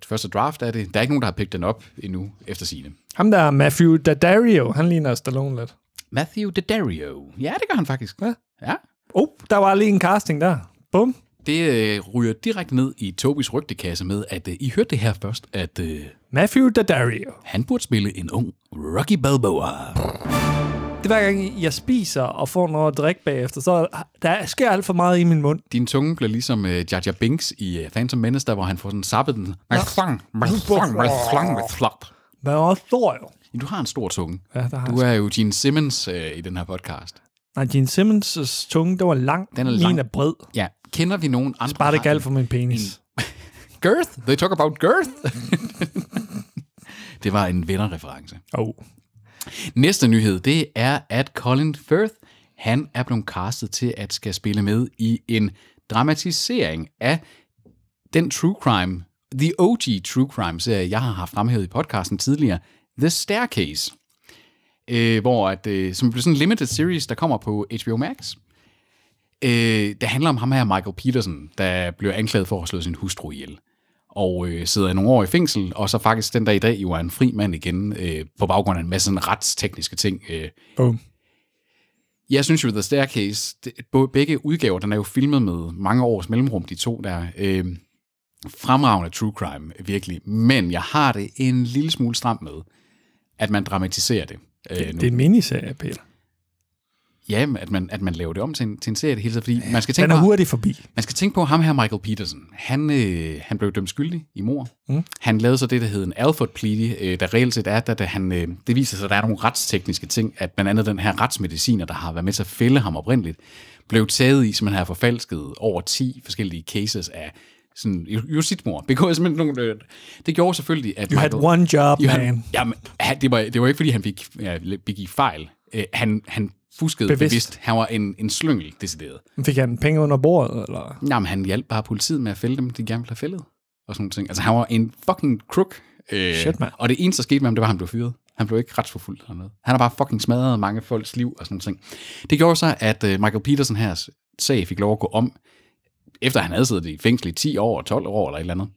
første draft af det. Der er ikke nogen, der har picked den op endnu efter sine. Ham der er Matthew Daddario, han ligner Stallone lidt. Matthew Daddario. Ja, det gør han faktisk. Ja. ja. Oh, der var lige en casting der. Bum. Det øh, ryger direkte ned i Tobis rygtekasse med, at øh, I hørte det her først, at... Øh, Matthew Daddario. Han burde spille en ung Rocky Balboa. Det er hver gang, jeg spiser og får noget at drikke bagefter, så der sker alt for meget i min mund. Din tunge bliver ligesom uh, Jar Jar Binks i uh, Phantom Menace, der hvor han får sådan sappet den. Med slang, med slang, med slang, med flop. Men jeg er også stor jo. Du har en stor tunge. Ja, der har Du er jo Gene Simmons uh, i den her podcast. Nej, Gene Simmons' tunge, det var lang. Den er Min lang. er bred. Ja, kender vi nogen andre? Bare det der ikke har alt for min penis. en- Girth? They talk about girth? det var en vennerreference. Oh. Næste nyhed, det er, at Colin Firth, han er blevet castet til at skal spille med i en dramatisering af den true crime, the OG true crime serie, jeg har haft fremhævet i podcasten tidligere, The Staircase, øh, hvor at, øh, som bliver sådan en limited series, der kommer på HBO Max. Øh, det handler om ham her, Michael Peterson, der bliver anklaget for at slå sin hustru ihjel. Og øh, sidder i nogle år i fængsel, og så faktisk den dag i dag jo er en fri mand igen, øh, på baggrund af en masse sådan retstekniske ting. Øh. Boom. Jeg synes jo, The Staircase, det, bo- begge udgaver, den er jo filmet med mange års mellemrum, de to der. Øh, fremragende true crime, virkelig. Men jeg har det en lille smule stramt med, at man dramatiserer det. Øh, nu. Det er en miniserie, Peter. Ja, at man, at man laver det om til en, til en serie det hele tiden, fordi man skal tænke Den er på, hurtigt forbi. man skal tænke på ham her, Michael Peterson. Han, øh, han blev dømt skyldig i mor. Mm. Han lavede så det, der hed en Alford plea, øh, der reelt set er, da det, han, øh, det viser sig, at der er nogle retstekniske ting, at blandt andet den her retsmediciner, der har været med til at fælde ham oprindeligt, blev taget i, som han har forfalsket over 10 forskellige cases af sådan ju- justitsmord. Begået simpelthen nogle... Øh, det gjorde selvfølgelig, at You had one job, Johan, man. Jamen, han, det, var, det var ikke, fordi han fik, ja, begik fejl. Øh, han, han fuskede Bevidst. bevidst. bevidst. Han var en, en slyngel, decideret. Fik han penge under bordet, eller? Jamen, han hjalp bare politiet med at fælde dem, de gerne ville have fældet. Og sådan nogle ting. Altså, han var en fucking crook. Øh, Shit, mand. Og det eneste, der skete med ham, det var, at han blev fyret. Han blev ikke retsforfulgt eller noget. Han har bare fucking smadret mange folks liv og sådan nogle ting. Det gjorde så, at øh, Michael Peterson her sag fik lov at gå om, efter han havde siddet i fængsel i 10 år, 12 år eller et eller andet.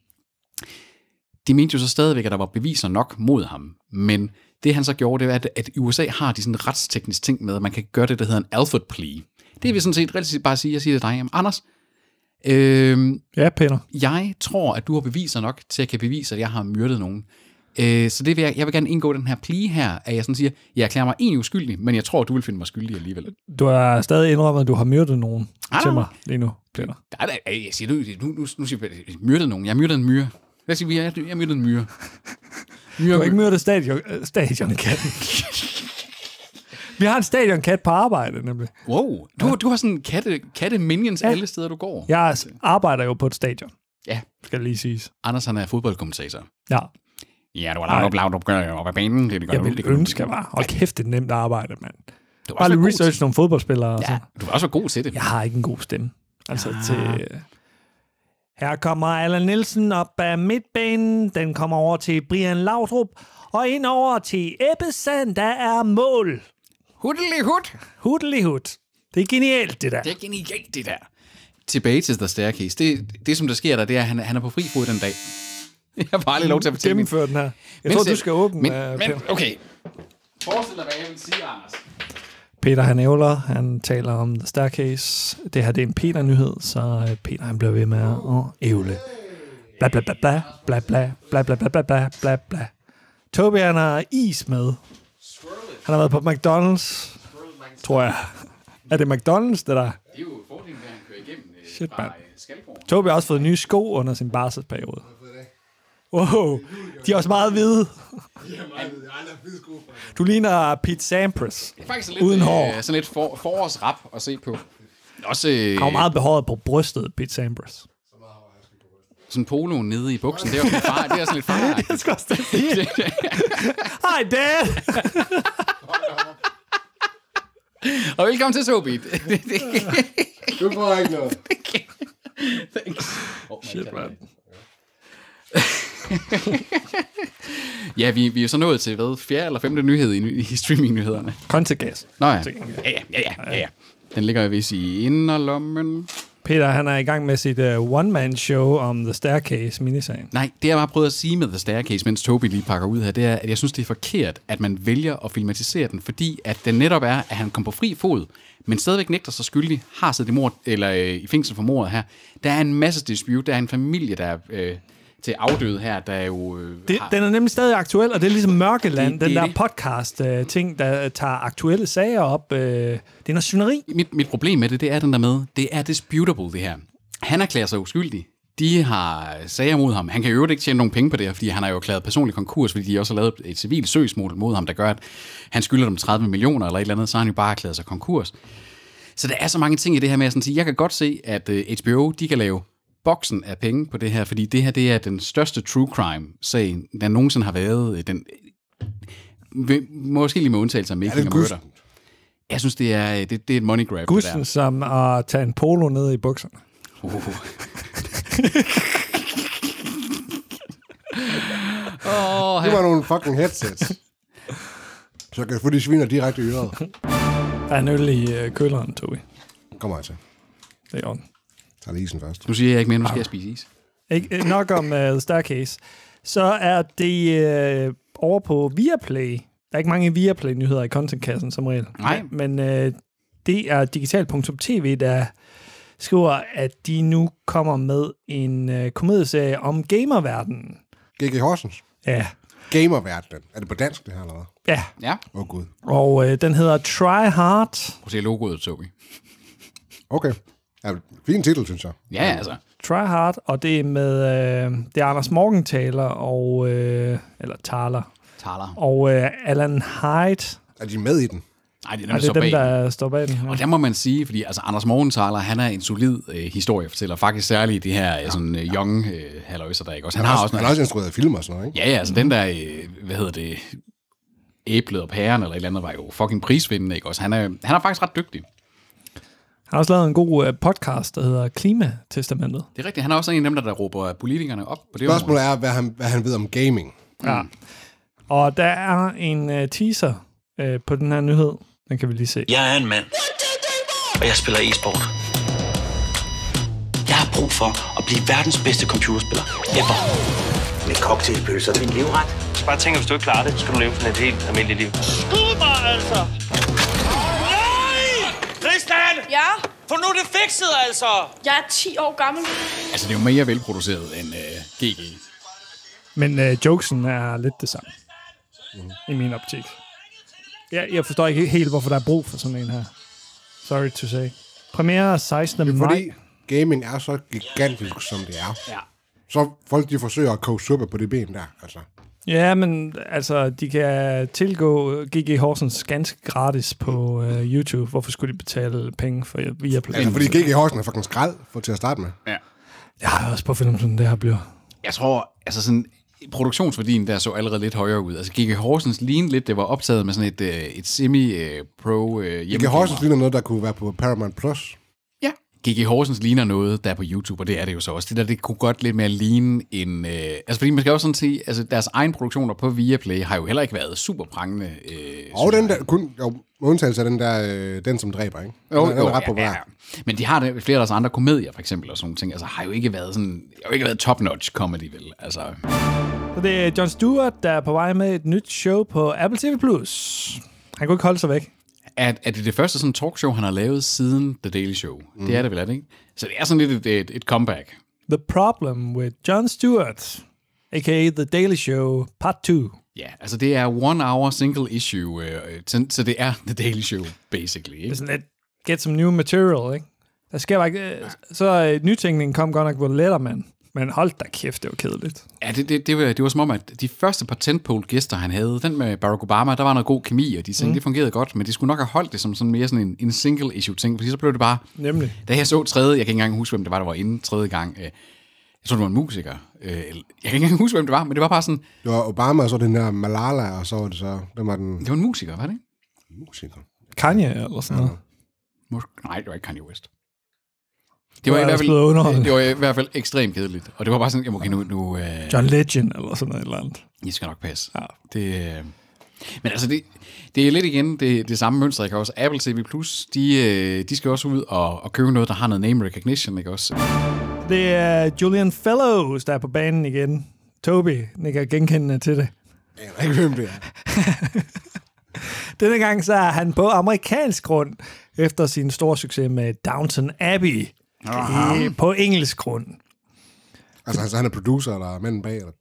de mente jo så stadigvæk, at der var beviser nok mod ham, men det han så gjorde, det var, at, at i USA har de sådan en retsteknisk ting med, at man kan gøre det, der hedder en Alford plea. Det vil sådan set relativt bare sige, jeg siger til dig, jamen, Anders, øh, Ja, Peter. jeg tror, at du har beviser nok til at kan bevise, at jeg har myrdet nogen. Øh, så det vil jeg, jeg vil gerne indgå den her plea her, at jeg sådan siger, jeg erklærer mig egentlig uskyldig, men jeg tror, du vil finde mig skyldig alligevel. Du har stadig indrømmet, at du har myrdet nogen ah. Ah. til mig lige nu, Peter. Nej, nej, ej, jeg siger, nu, nu, nu, nu siger jeg, jeg myrdede nogen. Jeg myrdede en myre. Hvad siger vi? Jeg, jeg myrdede en myre. Du har myre ikke myrdet stadion, øh, stadionkatten. Vi har en stadionkat på arbejde, nemlig. wow, du, har- du har sådan katte, katte minions ja. alle steder, du går. Jeg s- arbejder jo på et stadion, ja. skal lige siges. Anders, han er fodboldkommentator. Ja, Ja, du har lavet blaudt opgør op ad banen. Det, det gør jeg du, det ville gør du. ønske mig. Hold kæft, det er nemt at arbejde, mand. Du var Bare også lige god til, research nogle fodboldspillere. Og ja, sådan. du var også god til det. Jeg har ikke en god stemme. Altså ja. til... øh, Her kommer Allan Nielsen op ad midtbanen. Den kommer over til Brian Laudrup. Og ind over til Ebbesand, der er mål. Huddelig hud. Huddelihud. Det er genialt, det der. Det er genialt, det der. Tilbage til The Staircase. Det, det som der sker der, det er, at han, han er på fri fod den dag. Jeg får aldrig lov til at fortælle min- Gennemfør den her. Jeg Men tror, selv- du skal åbne, Men, øh, men Peter. okay. Forestil dig, hvad jeg vil sige, Anders. Peter, han ævler. Han taler om The Staircase. Det her, det er en Peter-nyhed, så øh, Peter, han bliver ved med at ævle. Bla, bla, bla, bla, bla, bla, bla, bla, bla, bla, bla, bla, bla. Toby, han har is med. Han har været på McDonald's, tror jeg. Er det McDonald's, det der? Det er jo fordelen, at han kører igennem øh, Shit, fra mand. øh, Skalborg. Toby har også fået nye sko under sin barselsperiode. Wow, de er også meget hvide. Du ligner Pete Sampras. Det er faktisk lidt, Uden hår. Øh, sådan lidt for, forårsrap at se på. Også øh, Han var meget behåret på brystet, Pete Sampras. sådan polo nede i buksen. Det er også lidt far, det er sådan lidt far. skal også sige. Hej, Dad! Og velkommen til Sobit. Det- det- Du får ikke noget. Shit, man. ja, vi, vi er jo så nået til, hvad, fjerde eller femte nyhed i, i streaming-nyhederne. Kun til gas. Nå ja. Ja, ja, ja, ja, ja. Den ligger jo vist i inderlommen. Peter, han er i gang med sit uh, one-man-show om The Staircase miniserien. Nej, det jeg bare prøvede at sige med The Staircase, mens Toby lige pakker ud her, det er, at jeg synes, det er forkert, at man vælger at filmatisere den, fordi at den netop er, at han kom på fri fod, men stadigvæk nægter sig skyldig, har siddet i, mord, eller, øh, i fængsel for mordet her. Der er en masse dispute, der er en familie, der er øh, til afdøde her, der er jo... Øh, Det, har, den er nemlig stadig aktuel, og det er ligesom Mørkeland, Det- den det er der det. podcast-ting, der tager aktuelle sager op. øh, det er noget syneri. mit, mit problem med det, det er den der med, det er disputable, det her. Han erklærer sig uskyldig. De har sager mod ham. Han kan jo øvrigt ikke tjene nogen penge på det her, fordi han har jo erklæret personlig konkurs, fordi de også har lavet et civilt søgsmål mod ham, der gør, at han skylder dem 30 millioner eller et eller andet, så har han jo bare erklæret sig konkurs. Så der er så mange ting i det her med at sådan sige, jeg kan godt se, at øh, HBO, de kan lave boksen af penge på det her, fordi det her, det er den største true crime-sag, der nogensinde har været. øh, Den, øh, måske lige med undtagelse af Making a Murder. Jeg synes, det er, øh, det, det er et money grab, det der. Gussen som at tage en polo ned i bukserne. Uh. Det var nogle fucking headsets. Så jeg kan få de sviner direkte i øret. Der er en øl i øh, køleren, Tobi. Kom her til. Det er orden. Tag lige isen først. Nu siger jeg ikke mere, nu skal jeg spise is. Ikke, øh, nok om uh, The Staircase. Så er det uh, over på Viaplay. Der er ikke mange Viaplay-nyheder i contentkassen som regel. Nej. Men uh, det er digital.tv, der skriver, at de nu kommer med en uh, komedieserie om gamerverdenen. G.G. Horsens. Ja, Gamerverdenen. Er det på dansk, det her, eller hvad? ja. Ja, Åh, oh, gud. Og uh, den hedder Try Hard. prøv at se logoet, Tobi. Okay. Ja, fin titel, synes jeg. Ja, altså. Try Hard, og det er med uh, det er Anders Morgenthaler og uh, eller Taler Taler. og uh, Alan Hyde. Er de med i den? Nej, det er Er dem, der det står dem, bag. Mm-hmm. Der... der står bag den? Ja. Og der må man sige, fordi altså, Anders Morgenthaler, han er en solid øh, historiefortæller. Faktisk særligt i de her øh, sådan, øh, young øh, halløjser, der ikke også. Han, har også Han noget. har også instrueret film og sådan noget, ikke? Ja, ja, altså den der, øh, hvad hedder det, æblet og pæren eller et eller andet, var jo fucking prisvindende, ikke også? Han er, han er faktisk ret dygtig. Han har også lavet en god øh, podcast, der hedder Klimatestamentet. Det er rigtigt, han er også en af dem, der, der råber politikerne op på det område. Spørgsmålet er, hvad han, hvad han ved om gaming. Ja. Og der er en øh, teaser øh, på den her nyhed. Den kan vi lige se. Jeg er en mand. Og jeg spiller e-sport. Jeg har brug for at blive verdens bedste computerspiller. Ever. med cocktailpølser til en livret. Så bare tænk, hvis du ikke klarer det, så skal du leve sådan et helt almindeligt liv. Skud mig altså! Nej! Christian! Ja, Få nu det fikset altså! jeg er 10 år gammel. Altså, det er jo mere velproduceret end øh, GG. Men øh, jokesen er lidt det samme. Mm. I min optik. Jeg, jeg forstår ikke helt, hvorfor der er brug for sådan en her. Sorry to say. Premiere 16. maj. Fordi gaming er så gigantisk, som det er. Ja. Så folk, de forsøger at koge suppe på det ben der, altså. Ja, men altså, de kan tilgå GG Horsens ganske gratis på øh, YouTube. Hvorfor skulle de betale penge for via Play? Altså, fordi GG Horsen er fucking skrald for til at starte med. Ja. Jeg har også på film, sådan det her bliver. Jeg tror, altså sådan, produktionsværdien der så allerede lidt højere ud. Altså, GG Horsens lignede lidt, det var optaget med sådan et, øh, et semi-pro øh, GG Horsens hjemmekamera. ligner noget, der kunne være på Paramount+. Plus. Ja. GG Horsens ligner noget, der er på YouTube, og det er det jo så også. Det der, det kunne godt lidt mere ligne en... Øh, altså, fordi man skal også sådan se, altså, deres egen produktioner på Viaplay har jo heller ikke været super prangende. Øh, Og den der, kun, jo, med undtagelse af den der, øh, den som dræber, ikke? Jo, den, er- den jo, er ret populær. ja, ja. Men de har det, flere af deres andre komedier, for eksempel, og sådan nogle ting, altså har jo ikke været sådan, har jo ikke været top-notch comedy, vel? Altså, Så det er John Stewart, der er på vej med et nyt show på Apple TV+. Han kunne ikke holde sig væk. er, er det det første sådan talkshow, han har lavet siden The Daily Show? Mm. Det er det vel, er det ikke? Så det er sådan lidt et, et, et comeback. The Problem with John Stewart, a.k.a. The Daily Show, part 2. Ja, altså det er one hour single issue, øh, øh, så så det er The Daily Show, basically. Det er Ikke? sådan lidt, get some new material, ikke? Der sker bare ikke... øh, Så øh, nytænkningen kom godt nok på Letterman. Men hold da kæft, det var kedeligt. Ja, det, det, det, var, det var som om, at de første par tentpole-gæster, han havde, den med Barack Obama, der var noget god kemi, og de tænkte, mm. det fungerede godt, men de skulle nok have holdt det som sådan mere sådan en, en single issue-ting, fordi så blev det bare Nemlig. Da jeg så tredje, jeg kan ikke engang huske, hvem det var, der var inde tredje gang. Øh, jeg tror, det var en musiker. Øh, eller- jeg kan ikke engang huske, hvem det var, men det var bare sådan, Det var Obama, og så den der Malala, og så var det så, den var den det var en musiker, var det ikke? musiker. Kanye eller sådan noget. Mus- Nej, det var ikke Kanye West. Det var, Det i var hvert også blevet fald, underholdende. det var i hvert fald ekstremt kedeligt. Og det var bare sådan, jamen, okay, nu, nu øh, John Legend eller sådan noget. Eller andet. I skal nok passe. Det, øh, men altså, det, det er lidt igen det, det samme mønster, ikke også? Apple TV+, Plus, de, øh, de skal også ud og, og købe noget, der har noget name recognition, ikke også? Det er Julian Fellows, der er på banen igen. Toby nikker genkendende til det. Jeg ved ikke, hvem det er. Denne gang så er han på amerikansk grund, efter sin store succes med Downton Abbey. Øh, På engelsk grund. Altså, altså, han er producer, eller manden bag, eller...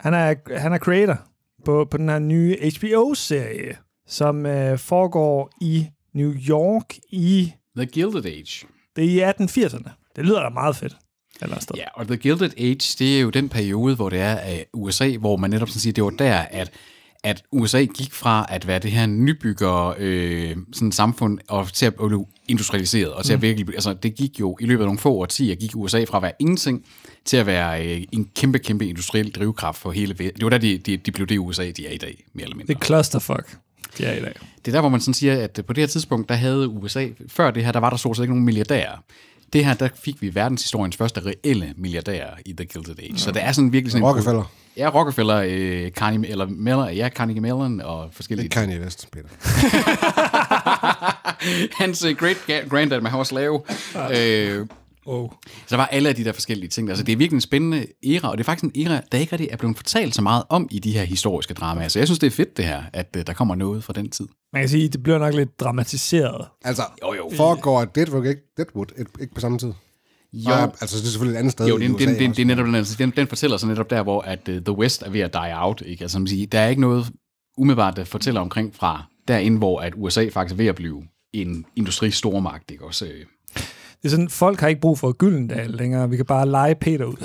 Han er, han er creator på, på den her nye HBO-serie, som øh, foregår i New York i, The Gilded Age. det er i 1880'erne. Det lyder da meget fedt. Eller sted. Ja, og The Gilded Age, det er jo den periode, hvor det er af USA, hvor man netop sådan siger, det var der, at, at USA gik fra at være det her nybygger øh, sådan samfund og til at blive industrialiseret. Og til at virkelig, blive- altså, det gik jo i løbet af nogle få årtier, gik USA fra at være ingenting til at være øh, en kæmpe, kæmpe industriel drivkraft for hele verden. Det var der, de, de, de blev det USA, de er i dag, mere eller mindre. Det er clusterfuck, de er i dag. Det er der, hvor man sådan siger, at på det her tidspunkt, der havde USA, før det her, der var der stort set ikke nogen milliardærer. Det her, der fik vi verdenshistoriens første reelle milliardærer i The Gilded Age. Ja. Så det er sådan virkelig sådan... en- Rockefeller. Ja, Rockefeller, øh, Carnegie, eller Mellon, ja, Carnegie Mellon og forskellige... Ikke Kanye West, Peter. Hans øh, great ga- granddad med Horse Lave. Øh, Oh. Så der var alle af de der forskellige ting. Altså, det er virkelig en spændende æra, og det er faktisk en æra, der ikke rigtig er blevet fortalt så meget om i de her historiske dramaer. Så jeg synes, det er fedt det her, at øh, der kommer noget fra den tid. Man kan sige, det bliver nok lidt dramatiseret. Altså, Jo, jo. foregår Deadwood ikke, Deadwood, ikke, ikke på samme tid? Jo. Nej, altså, det er selvfølgelig et andet sted Jo, i den, USA den, den, også. den, netop, den, altså, den, den fortæller så netop der, hvor at uh, The West er ved at die out. Ikke? Altså, man siger, der er ikke noget umiddelbart, der fortæller omkring fra derinde, hvor at USA faktisk er ved at blive en industristormagt. Ikke? Også, øh, Det er sådan, folk har ikke brug for Gyldendal længere. Vi kan bare lege Peter ud.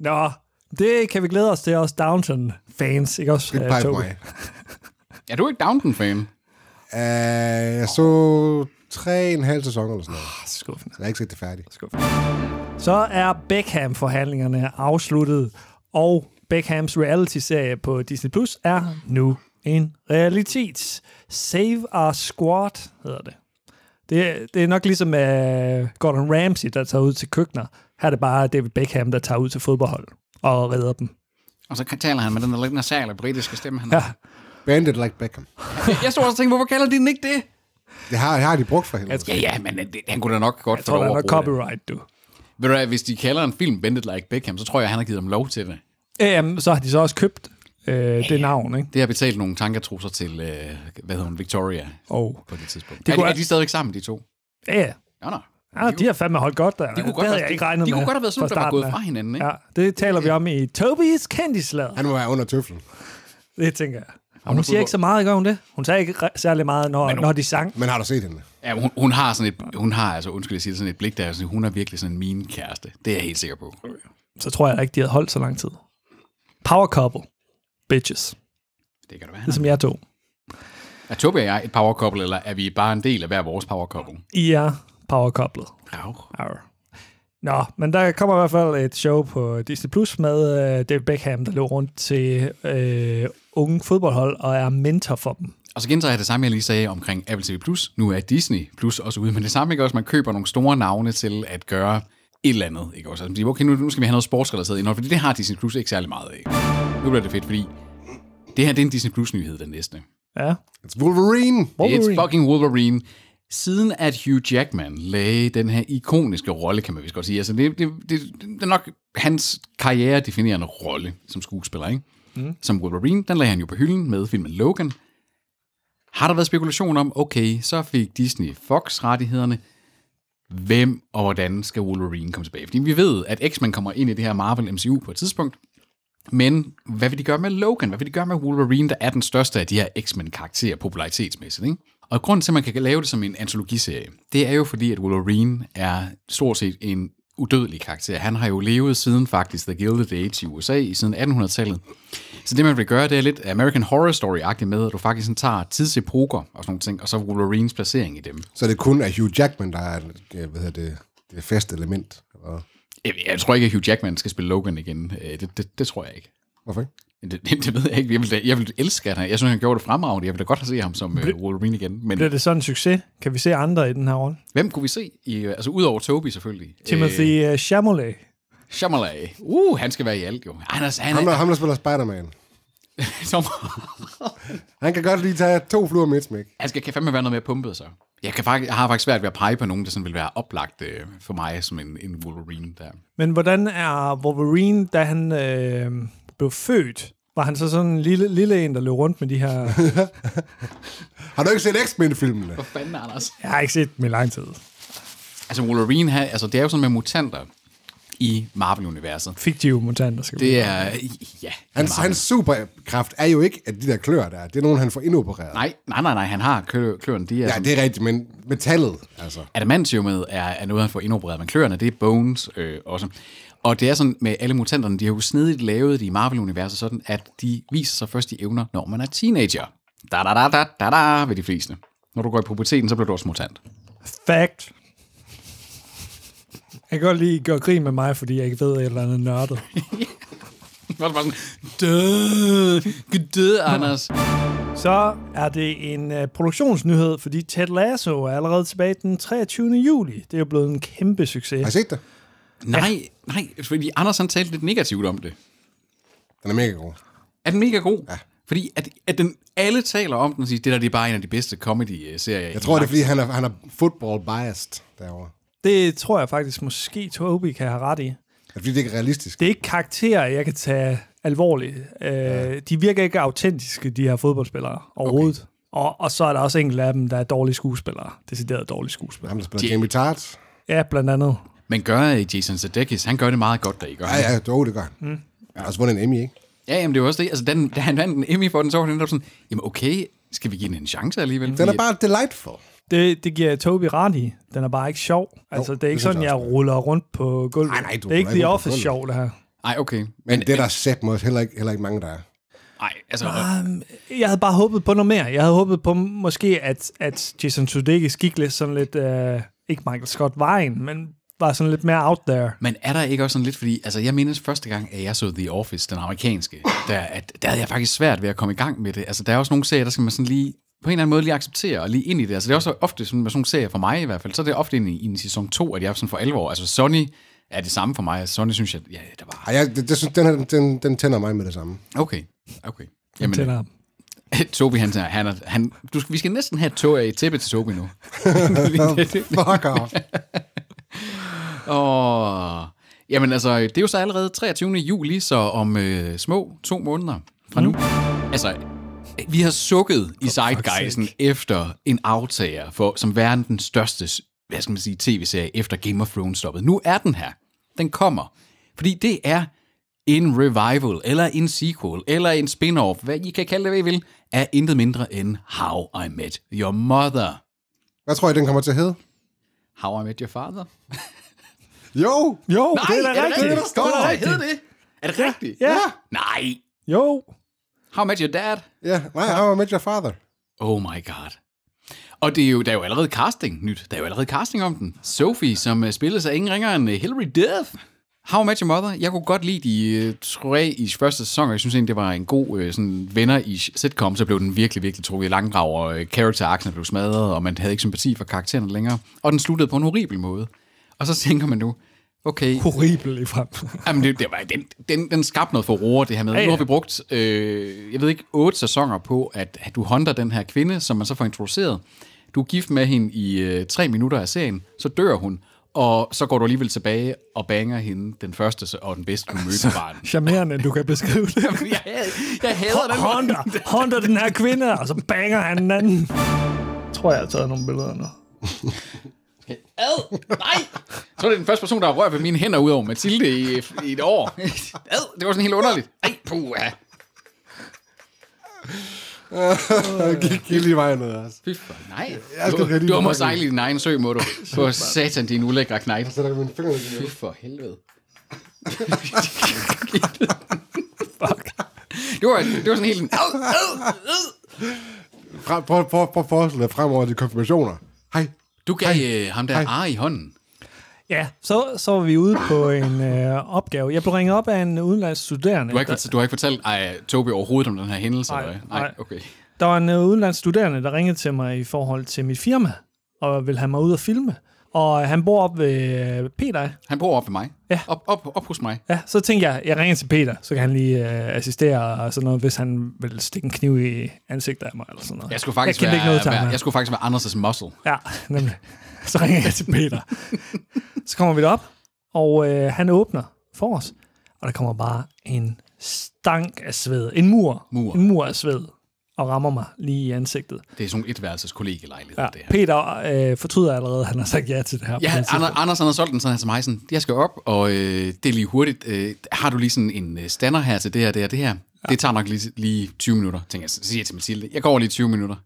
Nå, det kan vi glæde os til, også Downton-fans, ikke også? Ikke øh, pege på Toby? mig. er du ikke Downton-fan? Uh, jeg så tre en halv sæson eller sådan noget. Ah, Skuffende. Så jeg har ikke set det færdigt. Så er Beckham-forhandlingerne afsluttet, og Beckhams reality-serie på Disney Plus er nu en realitet. Save Our Squad hedder det. Det, det er nok ligesom uh, Gordon Ramsay, der tager ud til køkkener. Her er det bare David Beckham, der tager ud til fodboldhold og redder dem. Og så taler han med den der lidt nasale britiske stemme. Han Ja. har. Bandit like Beckham. Jeg stod også og tænkte, hvorfor kalder de den ikke det? Det har, det har de brugt for helvede. Ja, ja, men øh, det- han kunne da nok godt Jeg få tror, lov der at er noget bruge det. copyright, du. Ved du hvad, hvis de kalder en film Bendit Like Beckham, så tror jeg, han har givet dem lov til det. Øhm, så har de så også købt øh, det navn, ikke? Det har betalt nogle tankatrusser til, øh, hvad hedder hun, Victoria Og på det tidspunkt. Det Det er, kunne de, er jeg- de stadigvæk sammen, de to? ja, ja. Nå, nå. Ah, de har fandme holdt godt der. kunne det godt havde være- jeg ikke regnet de med kunne godt have været sådan, fra der var starten gået af. fra hinanden, ikke? Ja, det taler vi om i Tobis Candyslader. Han må være under tøflen. Det tænker jeg. Og hun hun siger ikke så meget, gør hun det? Hun sagde ikke re- særlig meget, når, når de sang. Men har du set hende? Ja, hun, hun, har sådan et, hun har, altså, undskyld, jeg siger det, sådan et blik, der er sådan, hun er virkelig sådan min kæreste. Det er jeg helt sikker på. Så tror jeg ikke, de havde holdt så lang tid. Power couple. Bitches. Det kan det være. Det som jeg tog. Er Tobi og jeg et power couple, eller er vi bare en del af hver vores power couple? I er power couplet. Ja. Arr. Nå, men der kommer i hvert fald et show på Disney Plus med øh, David Beckham, der løber rundt til øh, unge fodboldhold og er mentor for dem. Og så gentager jeg det samme, jeg lige sagde omkring Apple TV+. Plus. Nu er Disney Plus også ude, men det samme ikke også, man køber nogle store navne til at gøre et eller andet. Ikke også? Altså, man siger, okay, nu, nu skal vi have noget sportsrelateret indhold, fordi det har Disney Plus ikke særlig meget af. Nu bliver det fedt, fordi det her det er en Disney Plus-nyhed, den næste. Ja. It's Wolverine. Wolverine. It's fucking Wolverine. Siden at Hugh Jackman lagde den her ikoniske rolle, kan man vist godt sige. Altså, det, det, det, det er nok hans karriere-definerende rolle som skuespiller, ikke? Mm. Som Wolverine, den lagde han jo på hylden med filmen Logan. Har der været spekulation om, okay, så fik Disney Fox-rettighederne. Hvem og hvordan skal Wolverine komme tilbage? Fordi vi ved, at X-Men kommer ind i det her Marvel MCU på et tidspunkt. Men hvad vil de gøre med Logan? Hvad vil de gøre med Wolverine, der er den største af de her X-Men-karakterer popularitetsmæssigt? Ikke? Og grunden til, at man kan lave det som en antologiserie, det er jo fordi, at Wolverine er stort set en udødelig karakter. Han har jo levet siden faktisk The Gilded Age i USA, i siden 1800-tallet. Så det, man vil gøre, det er lidt American Horror Story-agtigt med, at du faktisk sådan tager tidsepoker og sådan nogle ting, og så Wolverines placering i dem. Så det kun er Hugh Jackman, der er øh, hvad hedder det, det fast element. Og Jeg, jeg tror ikke, at Hugh Jackman skal spille Logan igen. Øh, Det, det, det tror jeg ikke. hvorfor ikke? Det, det, det ved jeg ikke. Jeg ville, da- jeg ville elske, at han... Jeg synes, han gjorde det fremragende. Jeg ville da godt have set ham som øh, Wolverine igen. Men Bliver det sådan en succes? Kan vi se andre i den her rolle? hvem kunne vi se? I, øh, altså, udover Toby selvfølgelig. Øh, Timothy øh, Chalamet. Shyamalan. Uh, han skal være i alt, jo. Han er... Han Ham, der, er ham, der spiller Spider-Man. som, Han kan godt lige tage to fluer med et smæk. han skal kan fandme være noget mere pumpet, så. Jeg, kan faktisk, jeg har faktisk svært ved at pege på nogen, der sådan vil være oplagt øh, for mig som en, en Wolverine der. Men hvordan er Wolverine, da han øh, blev født? Var han så sådan en lille, lille en, der løb rundt med de her... Har du ikke set X-Men-filmene? Hvor fanden, Anders? Jeg har ikke set dem i lang tid. Altså, Wolverine, her, altså, det er jo sådan med mutanter i Marvel-universet. Fiktive mutanter, skal det... Det er... Ja. Hans, Marvel. hans superkraft er jo ikke, at de der klør der, det er nogen, han får indopereret. Nej, nej, nej, nej, han har klø, kløerne. De er Ja, sådan- det er rigtigt, men metallet, altså. Adamantiumet er, er noget, han får indopereret, men kløerne, det er Bones øh, også. Og det er sådan med alle mutanterne, de har jo snedigt lavet det i Marvel-universet sådan, at de viser sig først i evner, når man er teenager. Da da da da da da ved de fleste. Når du går i puberteten, så bliver du også mutant. Fact. Jeg kan godt lige gøre grin med mig, fordi jeg ikke ved et eller andet nørdet. Så er det bare sådan, død, død, Anders. Så er det en øh, produktionsnyhed, fordi Ted Lasso er allerede tilbage den 23. juli. Det er jo blevet en kæmpe succes. Har I set det? Nej, nej, fordi Anders han talte lidt negativt om det. Den er mega god. Er den mega god? Ja. Fordi at, at den, alle taler om den og siger, det der det er bare en af de bedste comedy-serier. Jeg tror, det er, fordi han er, han er football-biased derovre. Det tror jeg faktisk måske Toby kan have ret i. Er det, fordi det ikke er realistisk? Det er ikke karakterer, jeg kan tage alvorligt. Øh, De virker ikke autentiske, de her fodboldspillere overhovedet. Okay. Og, og så er der også enkelte af dem, der er dårlige skuespillere. Decideret dårlige skuespillere. Ham, der spiller Jamie Tart. Ja, blandt andet. Men gør øh, Jason Sudeikis, han gør det meget godt, der I gør. Ja, ja, jo, det gør han. Mm. Han har også vundet en Emmy, ikke? Ja, jamen det er jo også det. Altså, da, den, da han vandt en Emmy for den, så var han netop sådan, jamen okay, skal vi give den en chance alligevel? Den er Fordi- bare delightful. Det, det giver jeg Toby ret i. Den er bare ikke sjov. Altså, det er ikke det synes sådan, jeg jeg også. ruller rundt på gulvet. Nej, nej, du det er ikke ruller ikke The rundt på Office gulvet. sjov, det her. Ej, okay. Men det er der sat også heller ikke, heller ikke mange, der er. Ej, altså, Um, jeg havde bare håbet på noget mere. Jeg havde håbet på måske, at, at Jason Sudeikis gik lidt sådan lidt... Uh, ikke Michael Scott-vejen, men var sådan lidt mere out there. men er der ikke også sådan lidt, fordi altså, jeg mindes første gang, at jeg så The Office, den amerikanske, der, at, der havde jeg faktisk svært ved at komme i gang med det. Altså, der er også nogle serier, der skal man sådan lige på en eller anden måde lige acceptere og lige ind i det. Altså, det er også ofte sådan, med sådan nogle serier for mig i hvert fald, så er det ofte i, i en sæson 2, at jeg er sådan for alvor. Altså, Sonny er det samme for mig. Altså, Sonny synes jeg, ja, der var... Ej, jeg, det, det, synes, den, her, den, den tænder mig med det samme. Okay, okay. Jamen, Jamen, tænder ham. Tobi, han, siger, han, er, han du, skal- vi skal næsten have et tog af et tæppe til Tobi nu. Fuck off. Åh. Jamen altså, det er jo så allerede 23. juli, så om øh, små to måneder fra nu. Altså, vi har sukket i Zeitgeisten efter en aftager for, som værende den største hvad skal man sige, tv-serie efter Game of Thrones stoppede. Nu er den her. Den kommer. Fordi det er en revival, eller en sequel, eller en spin-off, hvad I kan kalde det, hvad I vil, er intet mindre end How I Met Your Mother. Hvad tror I, den kommer til at hedde? How I Met Your Father? Jo! Jo, Nej, det er da det rigtigt. det, der står? Det er Hvad rigtigt. hedder det? Er det rigtigt? Ja. Nej. Jo. How I Met Your Dad? Ja, nej, How I Met Your Father. Oh my god. Og det er jo, der er jo allerede casting nyt. Der er jo allerede casting om den. Sophie, som uh, spilles af ingen ringere end uh, Hilary Duff. How I Met Your Mother. Jeg kunne godt lide de uh, tre i første sæson, og jeg synes egentlig, det var en god uh, sådan venner i sitcom. Så blev den virkelig, virkelig trukket i langdrag, og uh, character blev smadret, og man havde ikke sympati for karaktererne længere. Og den sluttede på en horribel måde. Og så tænker man nu, okay, Horribel i frem. Jamen, det, det var, den, den, den skabte noget for roer, det her med. Ja, ja. Nu har vi brugt, øh, jeg ved ikke, otte sæsoner på, at, at du håndter den her kvinde, som man så får introduceret. Du er gift med hende i øh, tre minutter af serien, så dør hun, og så går du alligevel tilbage og banger hende den første se- og den bedste, du mødte på barnet. Charmerende, du kan beskrive det. Jeg, havde, jeg hader den måde. Hunter, Hunter den her kvinde, og så banger han den anden. Jeg tror, jeg har taget nogle billeder nu. Ad, nej! Så er det den første person, der har rørt ved mine hænder udover Mathilde i, i et år. Ad, det var sådan helt underligt. Ej, puha. Jeg gik helt i vejen ned, altså. Fy for, nej. skal Du, rigtig du må mange. sejle i din egen sø, må du. For satan, din ulækre knejt. Så der mine fingre Fy for helvede. Fuck. Det var, det var sådan helt en... Au, au, au. Prøv, prøv, prøv, prøv at forestille dig fremover de konfirmationer. Hej. Du gav øh, ham der ar i hånden. Ja, så, så var vi ude på en øh, opgave. Jeg blev ringet op af en udenlandsk studerende. Du har ikke, fort- du har ikke fortalt ej, Tobi overhovedet om den her hændelse? Nej, eller hvad? nej. nej. okay. Der var en øh, udenlandsk studerende, der ringede til mig i forhold til mit firma, og ville have mig ud og filme. Og han bor op ved øh, Peter. Han bor op ved mig. Ja. Op, op, op hos mig. Ja, så tænkte jeg, jeg ringer til Peter, så kan han lige øh, assistere og sådan noget, hvis han vil stikke en kniv i ansigtet af mig eller sådan noget. Jeg skulle faktisk, jeg kendte være, ikke noget til ham, være, ja. jeg skulle faktisk være Anders' muscle. Ja, nemlig. Så ringer jeg til Peter. så kommer vi derop, og øh, han åbner for os, og der kommer bare en stank af sved. En mur. Mur. En mur af sved. Og rammer mig lige i ansigtet. Det er sådan nogle etværelses kollegelejlighed, Ja, det her. Peter øh, fortryder allerede, at han har sagt ja til det her. på Ja, det tidspunkt. Anders, Anders han har solgt den sådan her til mig, sådan, jeg skal op, og øh, det er lige hurtigt. Øh, har du lige sådan en øh, stander her til det her, det her, det her? Ja. Det tager nok lige, lige 20 minutter, tænker jeg. Så siger jeg til Mathilde, jeg går lige 20 minutter.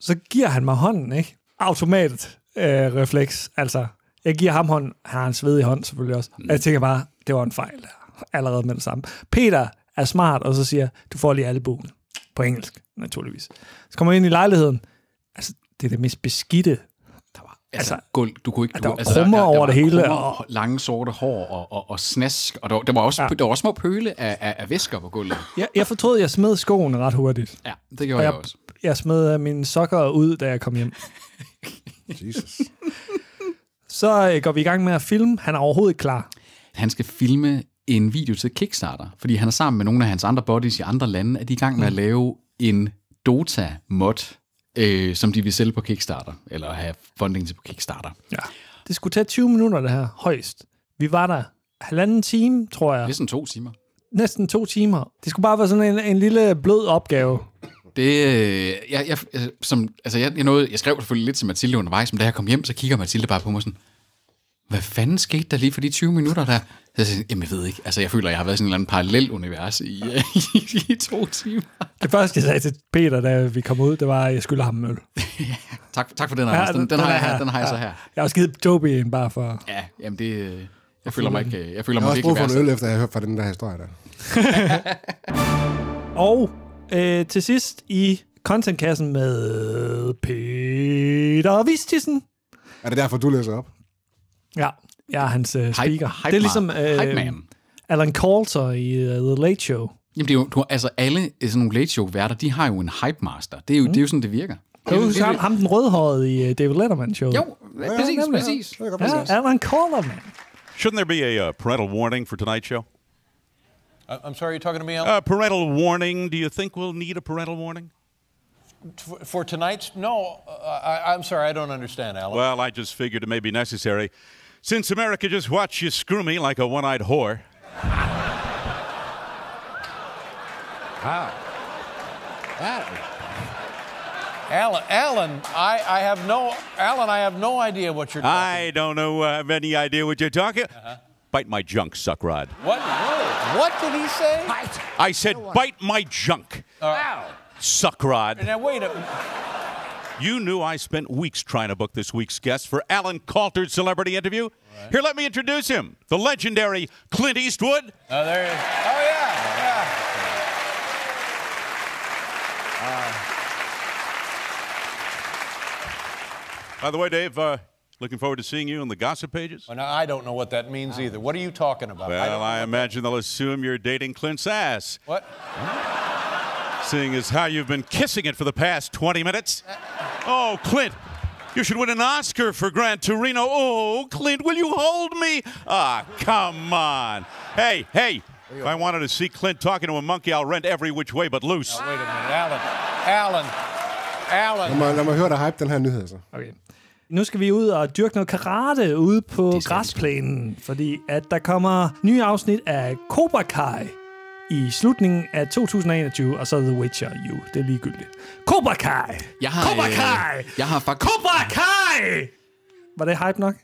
Så giver han mig hånden, ikke? Automatet øh, refleks. Altså, jeg giver ham hånden. Han har en svedig hånd selvfølgelig også. Mm. Jeg tænker bare, det var en fejl allerede med det samme. Peter er smart, og så siger, du får lige albuen. På engelsk, naturligvis. Så kommer jeg ind i lejligheden. Altså, det er det mest beskidte. Altså, Altså, altså gulv, du kunne ikke... der Du, var altså, krummer over det hele, krummer og- Og lange sorte hår og, og, og snask, og der, der, var også, Ja. ja. der var også små pøle af, af, af væsker på gulvet. Jeg, jeg fortrød, jeg smed skoene ret hurtigt. Ja, det gjorde jeg, jeg- jeg også. Jeg smed øh, mine sokker ud, da jeg kom hjem. Jesus. Så øh, går vi i gang med at filme. Han er overhovedet ikke klar. han skal filme en video til Kickstarter, fordi han er sammen med nogle af hans andre buddies i andre lande, at de er i gang med Mm. at lave en Dota-mod, øh, som de vil sælge på Kickstarter, eller have funding til på Kickstarter. Ja. Det skulle tage 20 minutter, det her, højst. Vi var der halvanden time, tror jeg. Det er sådan to timer. Næsten to timer. Det skulle bare være sådan en, en lille blød opgave. Det, øh, jeg, jeg, jeg- som, altså jeg, jeg, nåede, jeg skrev selvfølgelig lidt til Mathilde undervejs, men da jeg kom hjem, så kigger Mathilde bare på mig sådan, hvad fanden skete der lige for de 20 minutter der? Så jeg siger, Jamen jeg ved ikke, altså jeg føler, jeg har været i sådan en eller anden parallel univers i, øh, i, i to timer. Det første, jeg sagde til Peter, da vi kom ud, det var, at jeg skylder ham en øl. Tak, tak for den, Anders. Den, den, har, jeg, her, den har jeg så her. Jeg har også givet Toby en bare for... Ja, jamen det... øh, Jeg føler mig ikke... øh, Jeg føler Jeg har mig også brug virkelig for værst. en øl, efter jeg har hørt fra den der historie der. Og øh, til sidst i contentkassen med Peter Vistisen. Er det derfor, du læser op? Ja, jeg er hans øh, speaker. Hype, hype det er ligesom hype man. Alan Coulter i uh, The Late Show. Jamen det er jo... Du, har- altså alle øh, sådan nogle late show værter, de har jo en hype master. Det er jo, det er jo sådan, det virker. Kan du Det- huske det- ham, ham den rødhårede i øh, David Letterman Show? Jo, præcis, nemlig. præcis. Det kan godt Ja, passe. Alan Coulter, mand. Shouldn't there be a uh, parental warning for tonight's show? I- I'm sorry, you're talking to me, Alan? Uh, parental warning. Do you think we'll need a parental warning? for, for tonight's? No, uh, I, I'm sorry, I don't understand, Alan. Well, I just figured it may be necessary. Since America just watched you screw me like a one eyed whore. Alan, Alan, I, I have no, Alan, I have no idea what you're talking. I don't know, uh, have any idea what you're talking. Bite my junk, suck rod. Uh-huh. What? Whoa, what did he say? I said, bite my junk, suck rod. Now wait a. You knew I spent weeks trying to book this week's guest for Alan Coulter's celebrity interview. Here, let me introduce him the legendary Clint Eastwood. Oh, there. he is. Oh yeah. yeah. By the way, Dave, uh, looking forward to seeing you on the gossip pages. Well, now I don't know what that means either. What are you talking about? I Well, don't- I, imagine they'll assume you're dating Clint's ass, what? seeing as how you've been kissing it for the past 20 minutes. Oh, Clint, you should win an Oscar for Gran Torino. Oh, Clint, will you hold me? Ah, come on. Hey, hey, if I wanted to see Clint talking to a monkey, I'll rent every which way but loose. Wait a minute, Alan. Alan. Alan. Lad mig, lad mig høre dig hype den her nyhed, altså. så. Okay. Nu skal vi ud og dyrke noget karate ude på skal vi. græsplænen, fordi at der kommer nye afsnit af Cobra Kai i slutningen af 2021, og så The Witcher U. Det er ligegyldigt. Cobra Kai! Jeg har, Cobra øh, Kai! jeg har faktisk- Cobra Kai! Var det hype nok?